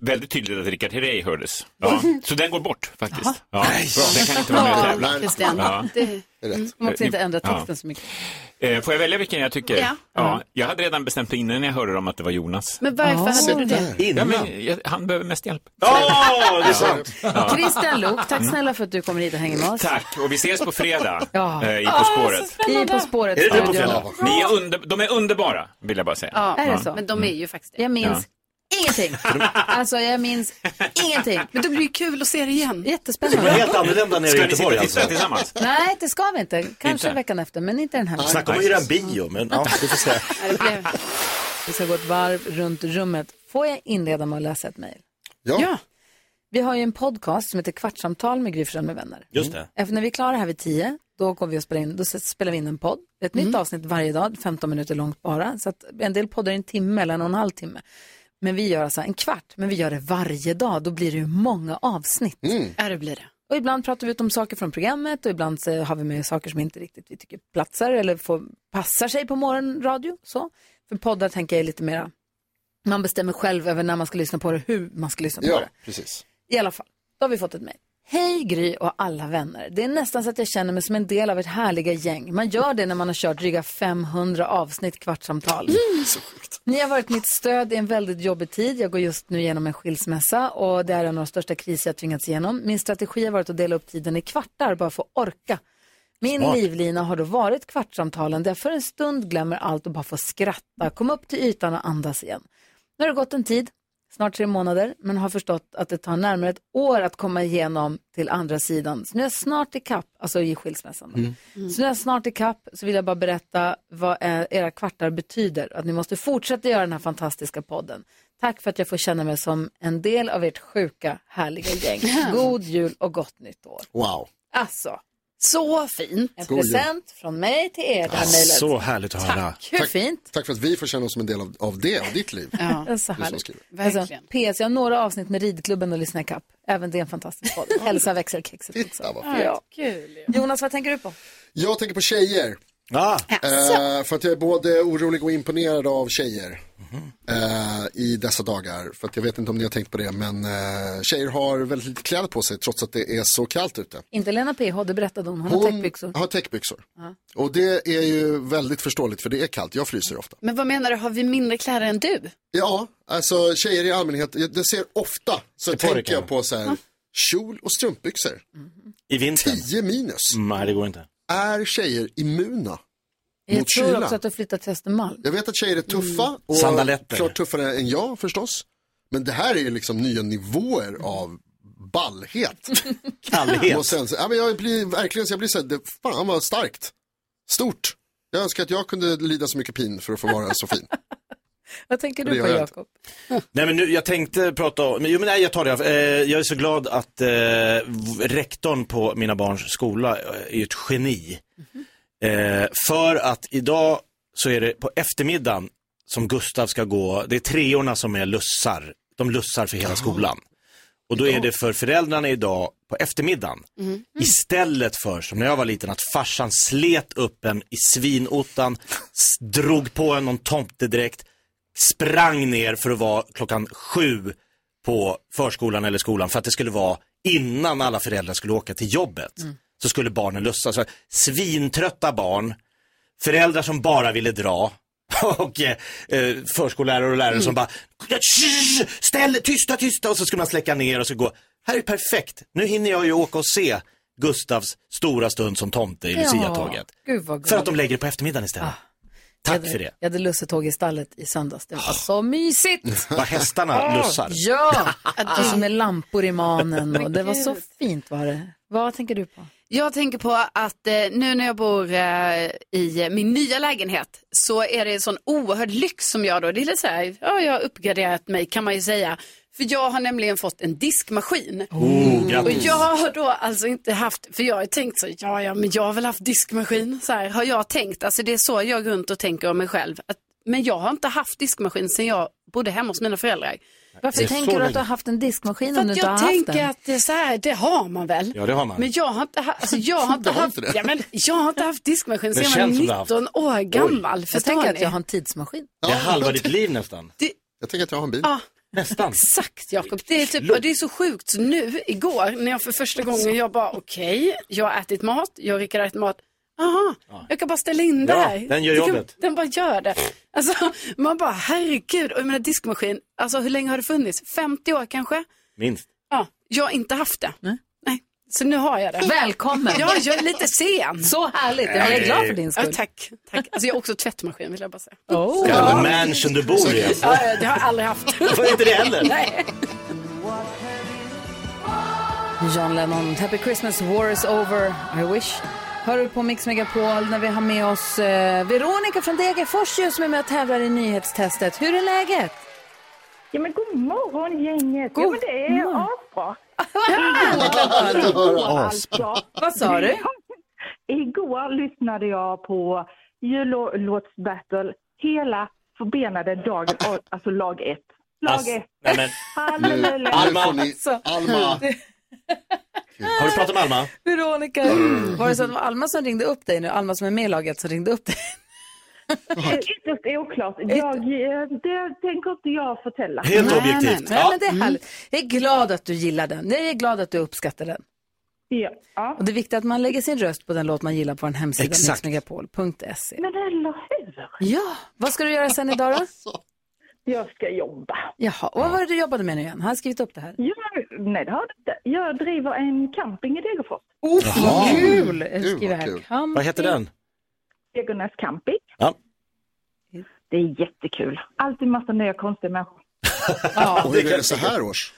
[SPEAKER 10] väldigt tydligt att Rickard Herrey hördes.
[SPEAKER 1] *laughs*
[SPEAKER 10] Ja. Så den går bort faktiskt. Ja, bra. Den kan inte vara med och tävla.
[SPEAKER 4] Christian.
[SPEAKER 10] Ja.
[SPEAKER 4] Det...
[SPEAKER 1] Mm. Man måste inte ändra texten så mycket.
[SPEAKER 10] Eh, Får jag välja vilken jag tycker?
[SPEAKER 4] Ja.
[SPEAKER 1] Mm.
[SPEAKER 10] Jag hade redan bestämt mig innan jag hörde dem att det var Jonas.
[SPEAKER 4] Men varför Ah. hade du det?
[SPEAKER 10] Ja, men, jag, han behöver mest hjälp.
[SPEAKER 7] Ja,
[SPEAKER 10] det är sant.
[SPEAKER 1] Christian Luuk, tack
[SPEAKER 10] Mm.
[SPEAKER 1] snälla för att du kommer hit och hänger med oss.
[SPEAKER 10] Tack, och vi ses på fredag
[SPEAKER 1] *laughs* Ja.
[SPEAKER 10] eh, i
[SPEAKER 1] Ah,
[SPEAKER 10] På spåret.
[SPEAKER 1] I På spåret.
[SPEAKER 10] Är det det på
[SPEAKER 1] studion.
[SPEAKER 10] fredag? Ni är under, de är underbara, vill jag bara säga.
[SPEAKER 1] Ja, är det så? Men de är
[SPEAKER 4] ju faktiskt
[SPEAKER 1] Jag minns ingenting. Alltså jag minns ingenting. Men det blir ju kul att se det igen.
[SPEAKER 7] Det var
[SPEAKER 1] Jättespännande.
[SPEAKER 7] helt annorlunda nere i
[SPEAKER 10] Ska ni
[SPEAKER 7] Göteborg
[SPEAKER 10] sitta och titta
[SPEAKER 7] alltså.
[SPEAKER 10] tillsammans?
[SPEAKER 1] Nej, det ska vi inte. Kanske
[SPEAKER 7] Inte?
[SPEAKER 1] veckan efter, men inte den här veckan.
[SPEAKER 7] Snacka om att hyra en bio, men ja, vi får se.
[SPEAKER 1] Vi ska gå ett varv runt rummet. Får jag inleda med att läsa ett mejl?
[SPEAKER 3] Ja.
[SPEAKER 1] Vi har ju en podcast som heter Kvartsamtal med Gry Forssell med vänner.
[SPEAKER 7] Just det.
[SPEAKER 1] Efter när vi är klara här vid tio, då kommer vi att spela in, då spelar vi in en podd. Ett nytt avsnitt varje dag, 15 minuter långt bara. Så att en del poddar är en timme eller en och en halv timme. Men vi gör alltså en kvart, men vi gör det varje dag. Då blir det ju många avsnitt.
[SPEAKER 4] Ja, det blir det.
[SPEAKER 1] Och ibland pratar vi ut om saker från programmet och ibland så har vi med saker som inte riktigt vi tycker platsar eller får, passar sig på morgonradio. Så. För poddar tänker jag är lite mera, man bestämmer själv över när man ska lyssna på det, hur man ska lyssna på
[SPEAKER 3] Ja,
[SPEAKER 1] det.
[SPEAKER 3] precis.
[SPEAKER 1] I alla fall, då har vi fått ett mejl. Hej Gry och alla vänner. Det är nästan så att jag känner mig som en del av ett härliga gäng. Man gör det när man har kört dryga 500 avsnitt kvartsamtal. Ni har varit mitt stöd i en väldigt jobbig tid. Jag går just nu igenom en skilsmässa och det är en av de största kriser jag tvingats igenom. Min strategi har varit att dela upp tiden i kvartar bara för att orka. Min
[SPEAKER 16] Smart.
[SPEAKER 1] livlina har då varit kvartsamtalen där jag för en stund glömmer allt och bara får skratta, komma upp till ytan och andas igen. Nu har det gått en tid, snart tre månader, men har förstått att det tar närmare ett år att komma igenom till andra sidan. Så nu är jag snart i kapp, alltså i skilsmässan.
[SPEAKER 3] Mm.
[SPEAKER 1] då. Så nu är jag snart i kapp, så vill jag bara berätta vad eh, era kvartar betyder. Att ni måste fortsätta göra den här fantastiska podden. Tack för att jag får känna mig som en del av ert sjuka, härliga gäng. God jul och gott nytt år.
[SPEAKER 3] Wow.
[SPEAKER 1] Alltså,
[SPEAKER 4] så fint.
[SPEAKER 1] En
[SPEAKER 3] God jul. Ah,
[SPEAKER 1] present från mig till er, det här mejlet.
[SPEAKER 3] Så härligt att höra.
[SPEAKER 1] Tack, hur fint.
[SPEAKER 3] Tack för att vi får känna oss som en del av, av det, av ditt liv.
[SPEAKER 1] Ja. Så
[SPEAKER 3] Du som
[SPEAKER 1] härligt.
[SPEAKER 3] skriver.
[SPEAKER 1] Alltså, PS, jag har några avsnitt med ridklubben och lyssna ikapp. Även det är en
[SPEAKER 4] *laughs*
[SPEAKER 1] fantastisk podd. Hälsa växelkexet också. Ja.
[SPEAKER 4] Kul.
[SPEAKER 1] Jonas, vad tänker du på?
[SPEAKER 3] Jag tänker på tjejer. Eh, för att jag är både orolig och imponerad av tjejer eh, i dessa dagar. För att jag vet inte om ni har tänkt på det, men eh, tjejer har väldigt lite kläder på sig trots att det är så kallt ute.
[SPEAKER 1] Inte Lena PH, det berättade hon. Hon har
[SPEAKER 3] Hon-
[SPEAKER 1] täckbyxor.
[SPEAKER 3] Har täckbyxor.
[SPEAKER 1] Ja.
[SPEAKER 3] Och det är ju väldigt förståeligt för det är kallt, jag fryser ofta.
[SPEAKER 4] Men vad menar du, har vi mindre kläder än du?
[SPEAKER 3] Ja, alltså tjejer i allmänhet, jag- det ser ofta så tänker jag på så här, kjol och strumpbyxor.
[SPEAKER 7] I vintern?
[SPEAKER 3] 10 minus.
[SPEAKER 7] Nej, det går inte.
[SPEAKER 3] Är tjejer immuna
[SPEAKER 1] Jag
[SPEAKER 3] mot
[SPEAKER 1] tror
[SPEAKER 3] kyla?
[SPEAKER 1] också att du har flyttat till Östermalm.
[SPEAKER 3] Jag vet att tjejer är tuffa
[SPEAKER 1] Mm.
[SPEAKER 3] och
[SPEAKER 7] Sandaletter.
[SPEAKER 3] klart tuffare än jag förstås. Men det här är ju liksom nya nivåer av ballhet.
[SPEAKER 7] Kallhet.
[SPEAKER 3] Och sen, så- ja, men jag blir verkligen så jag blir så här, det, fan vad starkt. Stort. Jag önskar att jag kunde lida så mycket pin för att få vara så fin.
[SPEAKER 1] Vad tänker
[SPEAKER 3] Det
[SPEAKER 1] du på,
[SPEAKER 3] gör jag
[SPEAKER 1] Jakob?
[SPEAKER 7] Nej men nu, jag tänkte prata om, men, jo, men nej, jag tar det. Eh, jag är så glad att eh, v- rektorn på mina barns skola eh, är ju ett geni. Eh, för att idag så är det på eftermiddagen som Gustav ska gå, det är treorna som är lussar, de lussar för hela skolan. Och då är det för föräldrarna idag på eftermiddagen.
[SPEAKER 4] Mm.
[SPEAKER 7] Istället för som när jag var liten att farsan slet upp en i svinottan, s- drog på en någon tomtedräkt, sprang ner för att vara klockan sju på förskolan eller skolan för att det skulle vara innan alla föräldrar skulle åka till jobbet. Så skulle barnen lussa. Så svintrötta barn, föräldrar som bara ville dra *laughs* och eh, eh, förskollärare och lärare som
[SPEAKER 1] Mm.
[SPEAKER 7] bara "Shh, ställ, tysta, tysta och så skulle man släcka ner och så gå. Här är perfekt, nu hinner jag ju åka och se Gustavs stora stund som tomte i Lucia-tåget.
[SPEAKER 1] Gud Ah. vad gulligt.
[SPEAKER 7] För att de lägger det på eftermiddagen istället.
[SPEAKER 1] Jag
[SPEAKER 7] Tack
[SPEAKER 1] hade-
[SPEAKER 7] för det.
[SPEAKER 1] Jag hade lussetåg i stallet i söndags. Det var så mysigt.
[SPEAKER 7] Vad hästarna *laughs*
[SPEAKER 1] Åh,
[SPEAKER 7] lussar.
[SPEAKER 1] Ah,
[SPEAKER 4] *laughs*
[SPEAKER 1] Ja, alltså med lampor i manen och det var så fint var det. Vad tänker du på?
[SPEAKER 4] Jag tänker på att eh, nu när jag bor eh, i min nya lägenhet så är det en sån oerhörd lyx som jag då, det är lite så här, ja jag har uppgraderat mig kan man ju säga. För jag har nämligen fått en diskmaskin.
[SPEAKER 7] Oh,
[SPEAKER 4] och
[SPEAKER 7] grattis.
[SPEAKER 4] jag har då alltså inte haft, för jag har ju tänkt så, ja ja men jag har väl haft diskmaskin, så här har jag tänkt, alltså det är så jag går runt och tänker om mig själv. Att, men jag har inte haft diskmaskin sedan jag bodde hemma hos mina föräldrar.
[SPEAKER 1] Varför tänker du att du har haft en diskmaskin
[SPEAKER 4] För att
[SPEAKER 1] om du inte
[SPEAKER 4] jag
[SPEAKER 1] har haft
[SPEAKER 4] tänker
[SPEAKER 1] den?
[SPEAKER 4] att det, är så här, det har man väl.
[SPEAKER 7] Ja, det har man.
[SPEAKER 4] Men jag har inte, ha, alltså,
[SPEAKER 7] *laughs*
[SPEAKER 4] jag har inte
[SPEAKER 1] Du har
[SPEAKER 4] haft,
[SPEAKER 1] inte det.
[SPEAKER 4] ja, men, jag har inte haft diskmaskin
[SPEAKER 7] Det
[SPEAKER 4] sedan jag var
[SPEAKER 7] känns som du har haft.
[SPEAKER 4] 19 år gammal.
[SPEAKER 1] jag
[SPEAKER 4] Förstår
[SPEAKER 1] tänker
[SPEAKER 4] ni?
[SPEAKER 1] att jag har en tidsmaskin.
[SPEAKER 7] Det är halva ditt liv nästan.
[SPEAKER 4] Det-
[SPEAKER 3] Jag tänker att jag har en bil.
[SPEAKER 1] Ah,
[SPEAKER 4] Ja.
[SPEAKER 7] Nästan.
[SPEAKER 4] Exakt Jakob, det, är typ, och det är så sjukt. Så nu igår när jag för första
[SPEAKER 7] Alltså.
[SPEAKER 4] gången, jag bara okej, jag har ätit mat, jag och Rickard har ätit mat. Aha, jag kan bara ställa in det
[SPEAKER 7] Ja,
[SPEAKER 4] här.
[SPEAKER 7] den gör
[SPEAKER 4] Det kan-
[SPEAKER 7] jobbet.
[SPEAKER 4] Den bara gör det. Alltså, man bara herregud, och jag menar diskmaskin, alltså hur länge har det funnits? 50 år kanske?
[SPEAKER 7] Minst.
[SPEAKER 4] Ja, jag har inte haft det. Nej. Så nu har jag det.
[SPEAKER 1] Välkommen.
[SPEAKER 4] Ja, jag är lite sen.
[SPEAKER 1] Så härligt, jag är glad för din skull.
[SPEAKER 4] Ja, tack. tack. Alltså, jag har också tvättmaskin vill jag bara säga.
[SPEAKER 1] Oh.
[SPEAKER 7] Jävla mansion du bor
[SPEAKER 1] *laughs*
[SPEAKER 7] i. alltså.
[SPEAKER 4] Ja, ja, det har jag aldrig haft.
[SPEAKER 7] Varför inte det heller?
[SPEAKER 4] Nej.
[SPEAKER 1] John Lennon, Happy Christmas, War is over, I wish. Hör du på Mix Megapol när vi har med oss eh, Veronica från Degerfors ju, som är med och tävlar i nyhetstestet. Hur är läget?
[SPEAKER 11] Ja, men god morgon gänget.
[SPEAKER 1] God
[SPEAKER 11] ja, men det är
[SPEAKER 1] morgon.
[SPEAKER 11] asbra.
[SPEAKER 1] Vad
[SPEAKER 11] Igår,
[SPEAKER 1] asbra.
[SPEAKER 11] alltså.
[SPEAKER 1] Vad sa du?
[SPEAKER 11] Igår lyssnade jag på jullåtsbattle hela förbenade dagen, och- alltså lag 1. Lag
[SPEAKER 7] Ass-
[SPEAKER 11] 1.
[SPEAKER 7] Nej, men, nu, Alma,
[SPEAKER 1] Alltså.
[SPEAKER 7] Alma. Har du pratat med Alma?
[SPEAKER 1] Veronica,
[SPEAKER 7] Mm.
[SPEAKER 1] var det så att det var Alma som ringde upp dig nu? Alma som är med i laget som ringde upp dig?
[SPEAKER 11] Ytterst oklart. Jag, eh, det tänker inte jag förtälla.
[SPEAKER 1] Nej, Nej, nej. men det
[SPEAKER 7] Mm.
[SPEAKER 1] är härligt. Jag är glad att du gillar den. Jag är glad att du uppskattar den.
[SPEAKER 11] Ja.
[SPEAKER 1] Och det är viktigt att man lägger sin röst på den låt man gillar på en hemsida,
[SPEAKER 11] Exakt.
[SPEAKER 1] mixmegapol.se.
[SPEAKER 11] Men eller hur?
[SPEAKER 1] Ja, vad ska du göra sen idag då?
[SPEAKER 11] Jag ska jobba.
[SPEAKER 1] Jaha, och vad var det du jobbade med nu igen? Har jag skrivit upp det här?
[SPEAKER 11] Jag, nej, det har du inte. Jag driver en camping i Degerfors.
[SPEAKER 1] Oh,
[SPEAKER 7] Jaha.
[SPEAKER 1] kul!
[SPEAKER 7] Gud, vad
[SPEAKER 1] Jag skriver här.
[SPEAKER 7] kul.
[SPEAKER 1] Camping.
[SPEAKER 7] Vad heter den?
[SPEAKER 11] Degernäs camping.
[SPEAKER 7] Ja.
[SPEAKER 11] Det är jättekul. Alltid massa nya konstiga människor.
[SPEAKER 3] Och hur är det så här års?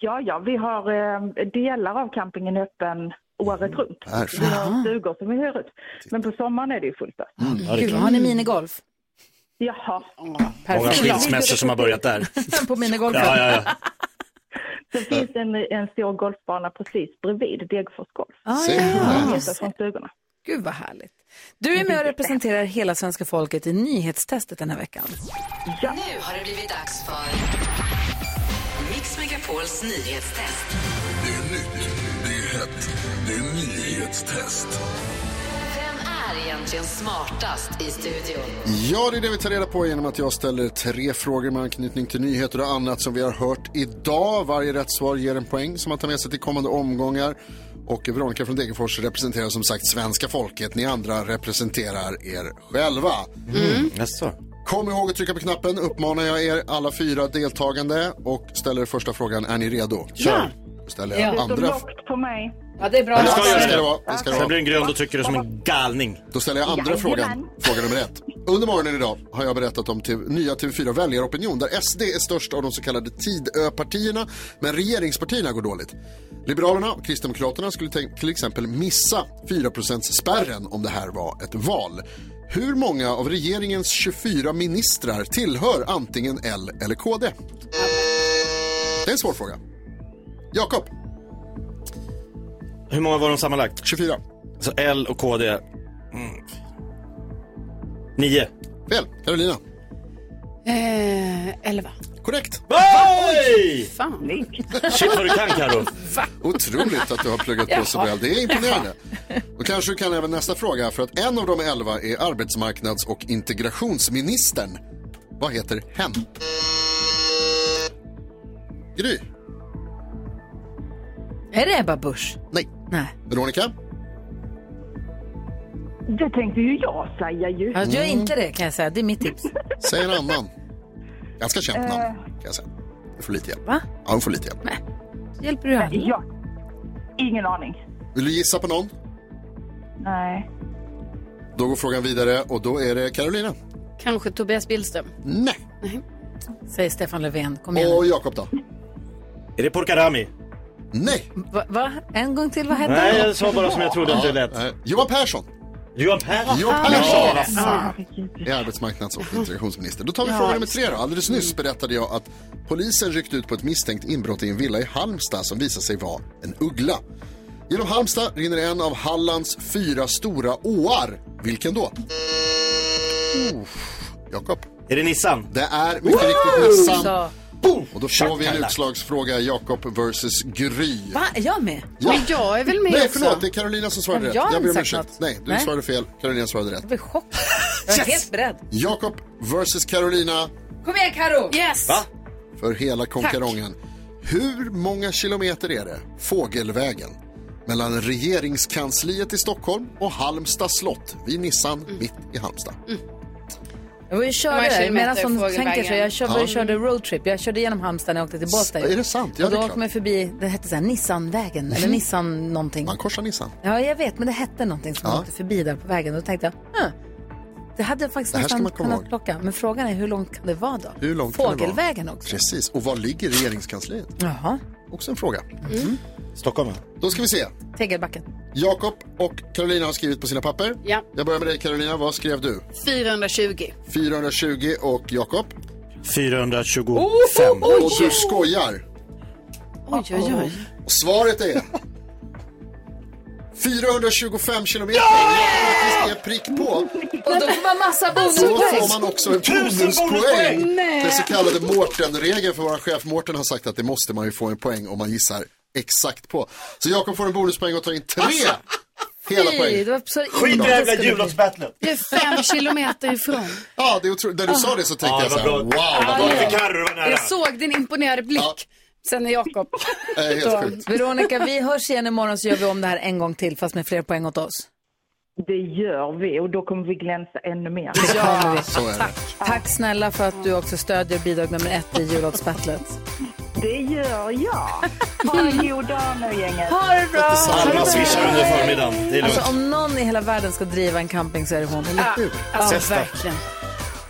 [SPEAKER 11] Ja, ja, vi har eh, delar av campingen öppen
[SPEAKER 1] Mm.
[SPEAKER 11] året runt.
[SPEAKER 3] Perfekt.
[SPEAKER 11] Vi har stugor som vi hyr ut. Men på sommaren är det ju fullt.
[SPEAKER 7] Mm, ja, det är
[SPEAKER 1] Gud,
[SPEAKER 7] klart.
[SPEAKER 1] har ni minigolf?
[SPEAKER 11] Jaha.
[SPEAKER 7] Många skilsmässor som har börjat där.
[SPEAKER 1] På minigolfen?
[SPEAKER 7] Ja, ja, ja.
[SPEAKER 11] Det finns en, en stor golfbana precis bredvid Degerfors Golf.
[SPEAKER 1] Ah, ja, ja.
[SPEAKER 11] Den heter från stugorna.
[SPEAKER 1] Gud vad härligt. Du är med och representerar hela svenska folket i nyhetstestet den här veckan.
[SPEAKER 2] Nu har det blivit dags för Mix Megapols nyhetstest.
[SPEAKER 8] Det är nytt, det är hett, det är nyhetstest.
[SPEAKER 2] Vem är egentligen smartast i studion?
[SPEAKER 3] Ja, det är det vi tar reda på genom att jag ställer tre frågor med anknytning till nyheter och annat som vi har hört idag. Varje rätt svar ger en poäng som man tar med sig till kommande omgångar. Och Veronica från Degerfors representerar som sagt svenska folket. Ni andra representerar er själva.
[SPEAKER 7] Jaså.
[SPEAKER 3] Kom ihåg att trycka på knappen uppmanar jag er alla fyra deltagande och ställer första frågan. Är ni redo?
[SPEAKER 11] Ja.
[SPEAKER 3] Då ställer jag
[SPEAKER 11] Det står
[SPEAKER 3] andra
[SPEAKER 11] lockt på mig.
[SPEAKER 1] Ja, det är bra.
[SPEAKER 3] Ja, det ska jag göra.
[SPEAKER 7] det.
[SPEAKER 3] Det ska det vara. Det ska det
[SPEAKER 7] Sen
[SPEAKER 3] vara.
[SPEAKER 7] blir den grön, då trycker du som en galning.
[SPEAKER 3] Då ställer jag andra
[SPEAKER 7] Jajamän.
[SPEAKER 3] frågan, fråga nummer ett. Under morgonen idag har jag berättat om TV, nya TV4 väljaropinion där SD är störst av de så kallade Tidöpartierna, men regeringspartierna går dåligt. Liberalerna och Kristdemokraterna skulle tänk- till exempel missa 4%-spärren om det här var ett val. Hur många av regeringens 24 ministrar tillhör antingen L eller KD? Det är en svår fråga. Jakob,
[SPEAKER 7] Hur många var de sammanlagt?
[SPEAKER 3] 24.
[SPEAKER 7] Så L och KD. Mm. Nio.
[SPEAKER 3] Fel. Carolina.
[SPEAKER 4] Eh, elva.
[SPEAKER 3] Korrekt.
[SPEAKER 7] Oj!
[SPEAKER 4] Fan.
[SPEAKER 7] Shit vad du kan Karo.
[SPEAKER 3] Otroligt att du har pluggat på så
[SPEAKER 7] Jaha.
[SPEAKER 3] väl. Det är imponerande. Då kanske du kan även nästa fråga, för att en av de elva är arbetsmarknads och integrationsministern. Vad heter hen? Gry.
[SPEAKER 1] Är det Ebba Busch?
[SPEAKER 3] Nej.
[SPEAKER 1] Nej.
[SPEAKER 3] Veronica?
[SPEAKER 11] Det tänkte ju jag säga ju.
[SPEAKER 1] Jag gör inte det kan jag säga. Det är
[SPEAKER 11] *laughs*
[SPEAKER 1] mitt tips.
[SPEAKER 3] Säg en annan. Ganska känt namn,
[SPEAKER 11] Eh.
[SPEAKER 3] kan jag säga. Du får lite hjälp.
[SPEAKER 1] Va?
[SPEAKER 3] Ja, du får lite hjälp.
[SPEAKER 1] Hjälper du henne?
[SPEAKER 11] Ja. Ingen aning.
[SPEAKER 3] Vill du gissa på någon?
[SPEAKER 11] Nej.
[SPEAKER 3] Då går frågan vidare och då är det Carolina.
[SPEAKER 4] Kanske Tobias Billström.
[SPEAKER 3] Nej.
[SPEAKER 1] Säger Stefan Löfven. Kom igen.
[SPEAKER 3] Och Jakob då?
[SPEAKER 7] Är det Porcarami?
[SPEAKER 3] Nej.
[SPEAKER 1] Va, va? En gång till, vad hände?
[SPEAKER 7] Nej, jag sa bara som jag trodde att det lät.
[SPEAKER 3] Eh, Johan Persson.
[SPEAKER 7] Johan Persson?
[SPEAKER 3] Johan Persson!
[SPEAKER 7] Ja, vad fan.
[SPEAKER 3] *laughs* är arbetsmarknads och integrationsminister. Då tar vi
[SPEAKER 7] Ja,
[SPEAKER 3] fråga nummer
[SPEAKER 7] just
[SPEAKER 3] tre då. Alldeles nyss
[SPEAKER 4] Mm.
[SPEAKER 3] berättade jag att polisen ryckte ut på ett misstänkt inbrott i en villa i Halmstad som visade sig vara en uggla. Genom Halmstad rinner en av Hallands fyra stora åar. Vilken då? Uff, Jakob.
[SPEAKER 7] Är det Nissan?
[SPEAKER 3] Det är mycket riktigt
[SPEAKER 1] Woo!
[SPEAKER 3] Nissan.
[SPEAKER 1] Så.
[SPEAKER 3] Boom! Och då får vi en
[SPEAKER 7] Shakalak.
[SPEAKER 3] utslagsfråga, Jakob versus Gry.
[SPEAKER 1] Va? Är jag med?
[SPEAKER 3] Ja.
[SPEAKER 4] Men jag är väl med
[SPEAKER 3] Nej,
[SPEAKER 4] också?
[SPEAKER 3] förlåt, det är Carolina som svarade
[SPEAKER 4] Ja,
[SPEAKER 3] rätt.
[SPEAKER 4] jag har
[SPEAKER 3] Jag ber om
[SPEAKER 4] inte sagt
[SPEAKER 3] ursäkt.
[SPEAKER 4] något.
[SPEAKER 3] Nej, du
[SPEAKER 4] Nej.
[SPEAKER 3] svarade fel. Carolina svarade rätt.
[SPEAKER 1] Jag blir chockad. Jag är helt beredd.
[SPEAKER 3] Jakob versus Carolina.
[SPEAKER 1] Kom igen Karo.
[SPEAKER 4] Yes!
[SPEAKER 3] för hela konkarongen. Hur många kilometer är det, fågelvägen, mellan regeringskansliet i Stockholm och Halmstad slott vid Nissan mitt i Halmstad?
[SPEAKER 1] Jag var ju körde,
[SPEAKER 4] Många
[SPEAKER 1] där,
[SPEAKER 4] kilometer
[SPEAKER 1] medan som
[SPEAKER 4] fågelvägen.
[SPEAKER 1] tänker sig, jag kör, var
[SPEAKER 3] Ja.
[SPEAKER 1] ju körde roadtrip. Jag körde genom Halmstad när jag åkte till Båstad.
[SPEAKER 3] Är det sant? Ja,
[SPEAKER 1] och
[SPEAKER 3] det
[SPEAKER 1] då
[SPEAKER 3] är
[SPEAKER 1] åkte man
[SPEAKER 3] klart.
[SPEAKER 1] förbi, det hette så här Nissanvägen, eller
[SPEAKER 3] Mhm.
[SPEAKER 1] Nissan någonting.
[SPEAKER 3] Man korsar Nissan.
[SPEAKER 1] Ja, jag vet, men det hette någonting som
[SPEAKER 3] Ja.
[SPEAKER 1] man åkte förbi där på vägen. Då tänkte jag, "Hm, det hade jag faktiskt
[SPEAKER 3] Det här ska
[SPEAKER 1] nästan
[SPEAKER 3] man komma
[SPEAKER 1] kunnat
[SPEAKER 3] ihåg.
[SPEAKER 1] plocka. Men frågan är hur långt kan det vara då?
[SPEAKER 3] Hur långt kan det vara?
[SPEAKER 1] Fågelvägen också.
[SPEAKER 3] Precis. Och var ligger regeringskansliet?
[SPEAKER 1] Jaha.
[SPEAKER 3] Också en fråga.
[SPEAKER 1] Mm.
[SPEAKER 7] Stockholm,
[SPEAKER 3] Då ska vi se.
[SPEAKER 1] Tegelbacken.
[SPEAKER 3] Jakob och Carolina har skrivit på sina papper.
[SPEAKER 4] Ja.
[SPEAKER 3] Jag börjar med dig Carolina. Vad skrev du?
[SPEAKER 4] 420.
[SPEAKER 3] 420 och Jakob?
[SPEAKER 7] 425.
[SPEAKER 3] Och du skojar?
[SPEAKER 4] Oj, oj, oj.
[SPEAKER 3] Och svaret är 425 kilometer. Det är prick på.
[SPEAKER 1] Och då får man massa
[SPEAKER 3] Då får
[SPEAKER 1] bonuspoäng.
[SPEAKER 3] man också en
[SPEAKER 1] Tusen
[SPEAKER 3] bonuspoäng.
[SPEAKER 1] bonuspoäng. Nej.
[SPEAKER 3] Den så kallade Mårten-regeln för vår chef Mårten har sagt att det måste man ju få en poäng om man gissar exakt på. Så Jakob får en bonuspoäng och tar in tre hela
[SPEAKER 1] Alltså, Fy,
[SPEAKER 3] poäng.
[SPEAKER 1] det var så
[SPEAKER 7] Skit i det jävla
[SPEAKER 1] skulle bli.
[SPEAKER 7] jullåtsbattlet.
[SPEAKER 4] Du är fem kilometer ifrån.
[SPEAKER 3] Ja, det är otroligt. När du sa det så tänkte
[SPEAKER 7] Ja,
[SPEAKER 3] jag
[SPEAKER 7] det
[SPEAKER 3] så
[SPEAKER 7] var
[SPEAKER 3] här,
[SPEAKER 7] Ah, bra.
[SPEAKER 3] wow, vad bra.
[SPEAKER 7] Varför Carro var nära?
[SPEAKER 4] Jag såg din imponerade blick. Sen är Jakob.
[SPEAKER 3] Det är helt sjukt.
[SPEAKER 1] Veronica, vi hörs igen imorgon så gör vi om det här en gång till fast med fler poäng åt oss.
[SPEAKER 11] Det gör vi och då kommer vi glänsa ännu mer.
[SPEAKER 7] Ah,
[SPEAKER 1] Ja,
[SPEAKER 3] så är det.
[SPEAKER 1] tack. Tack snälla för att du också stödjer bidrag nummer ett i jullåtsbattlet.
[SPEAKER 11] Det gör jag. Ha en god dag nu gänget.
[SPEAKER 1] Ha det Ah, bra!
[SPEAKER 7] Alla swishar under förmiddagen. Det är
[SPEAKER 1] Alltså
[SPEAKER 7] lugnt.
[SPEAKER 1] om någon i hela världen ska driva en camping så är det hon.
[SPEAKER 4] Ja,
[SPEAKER 7] Sesta.
[SPEAKER 4] verkligen.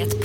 [SPEAKER 2] Ett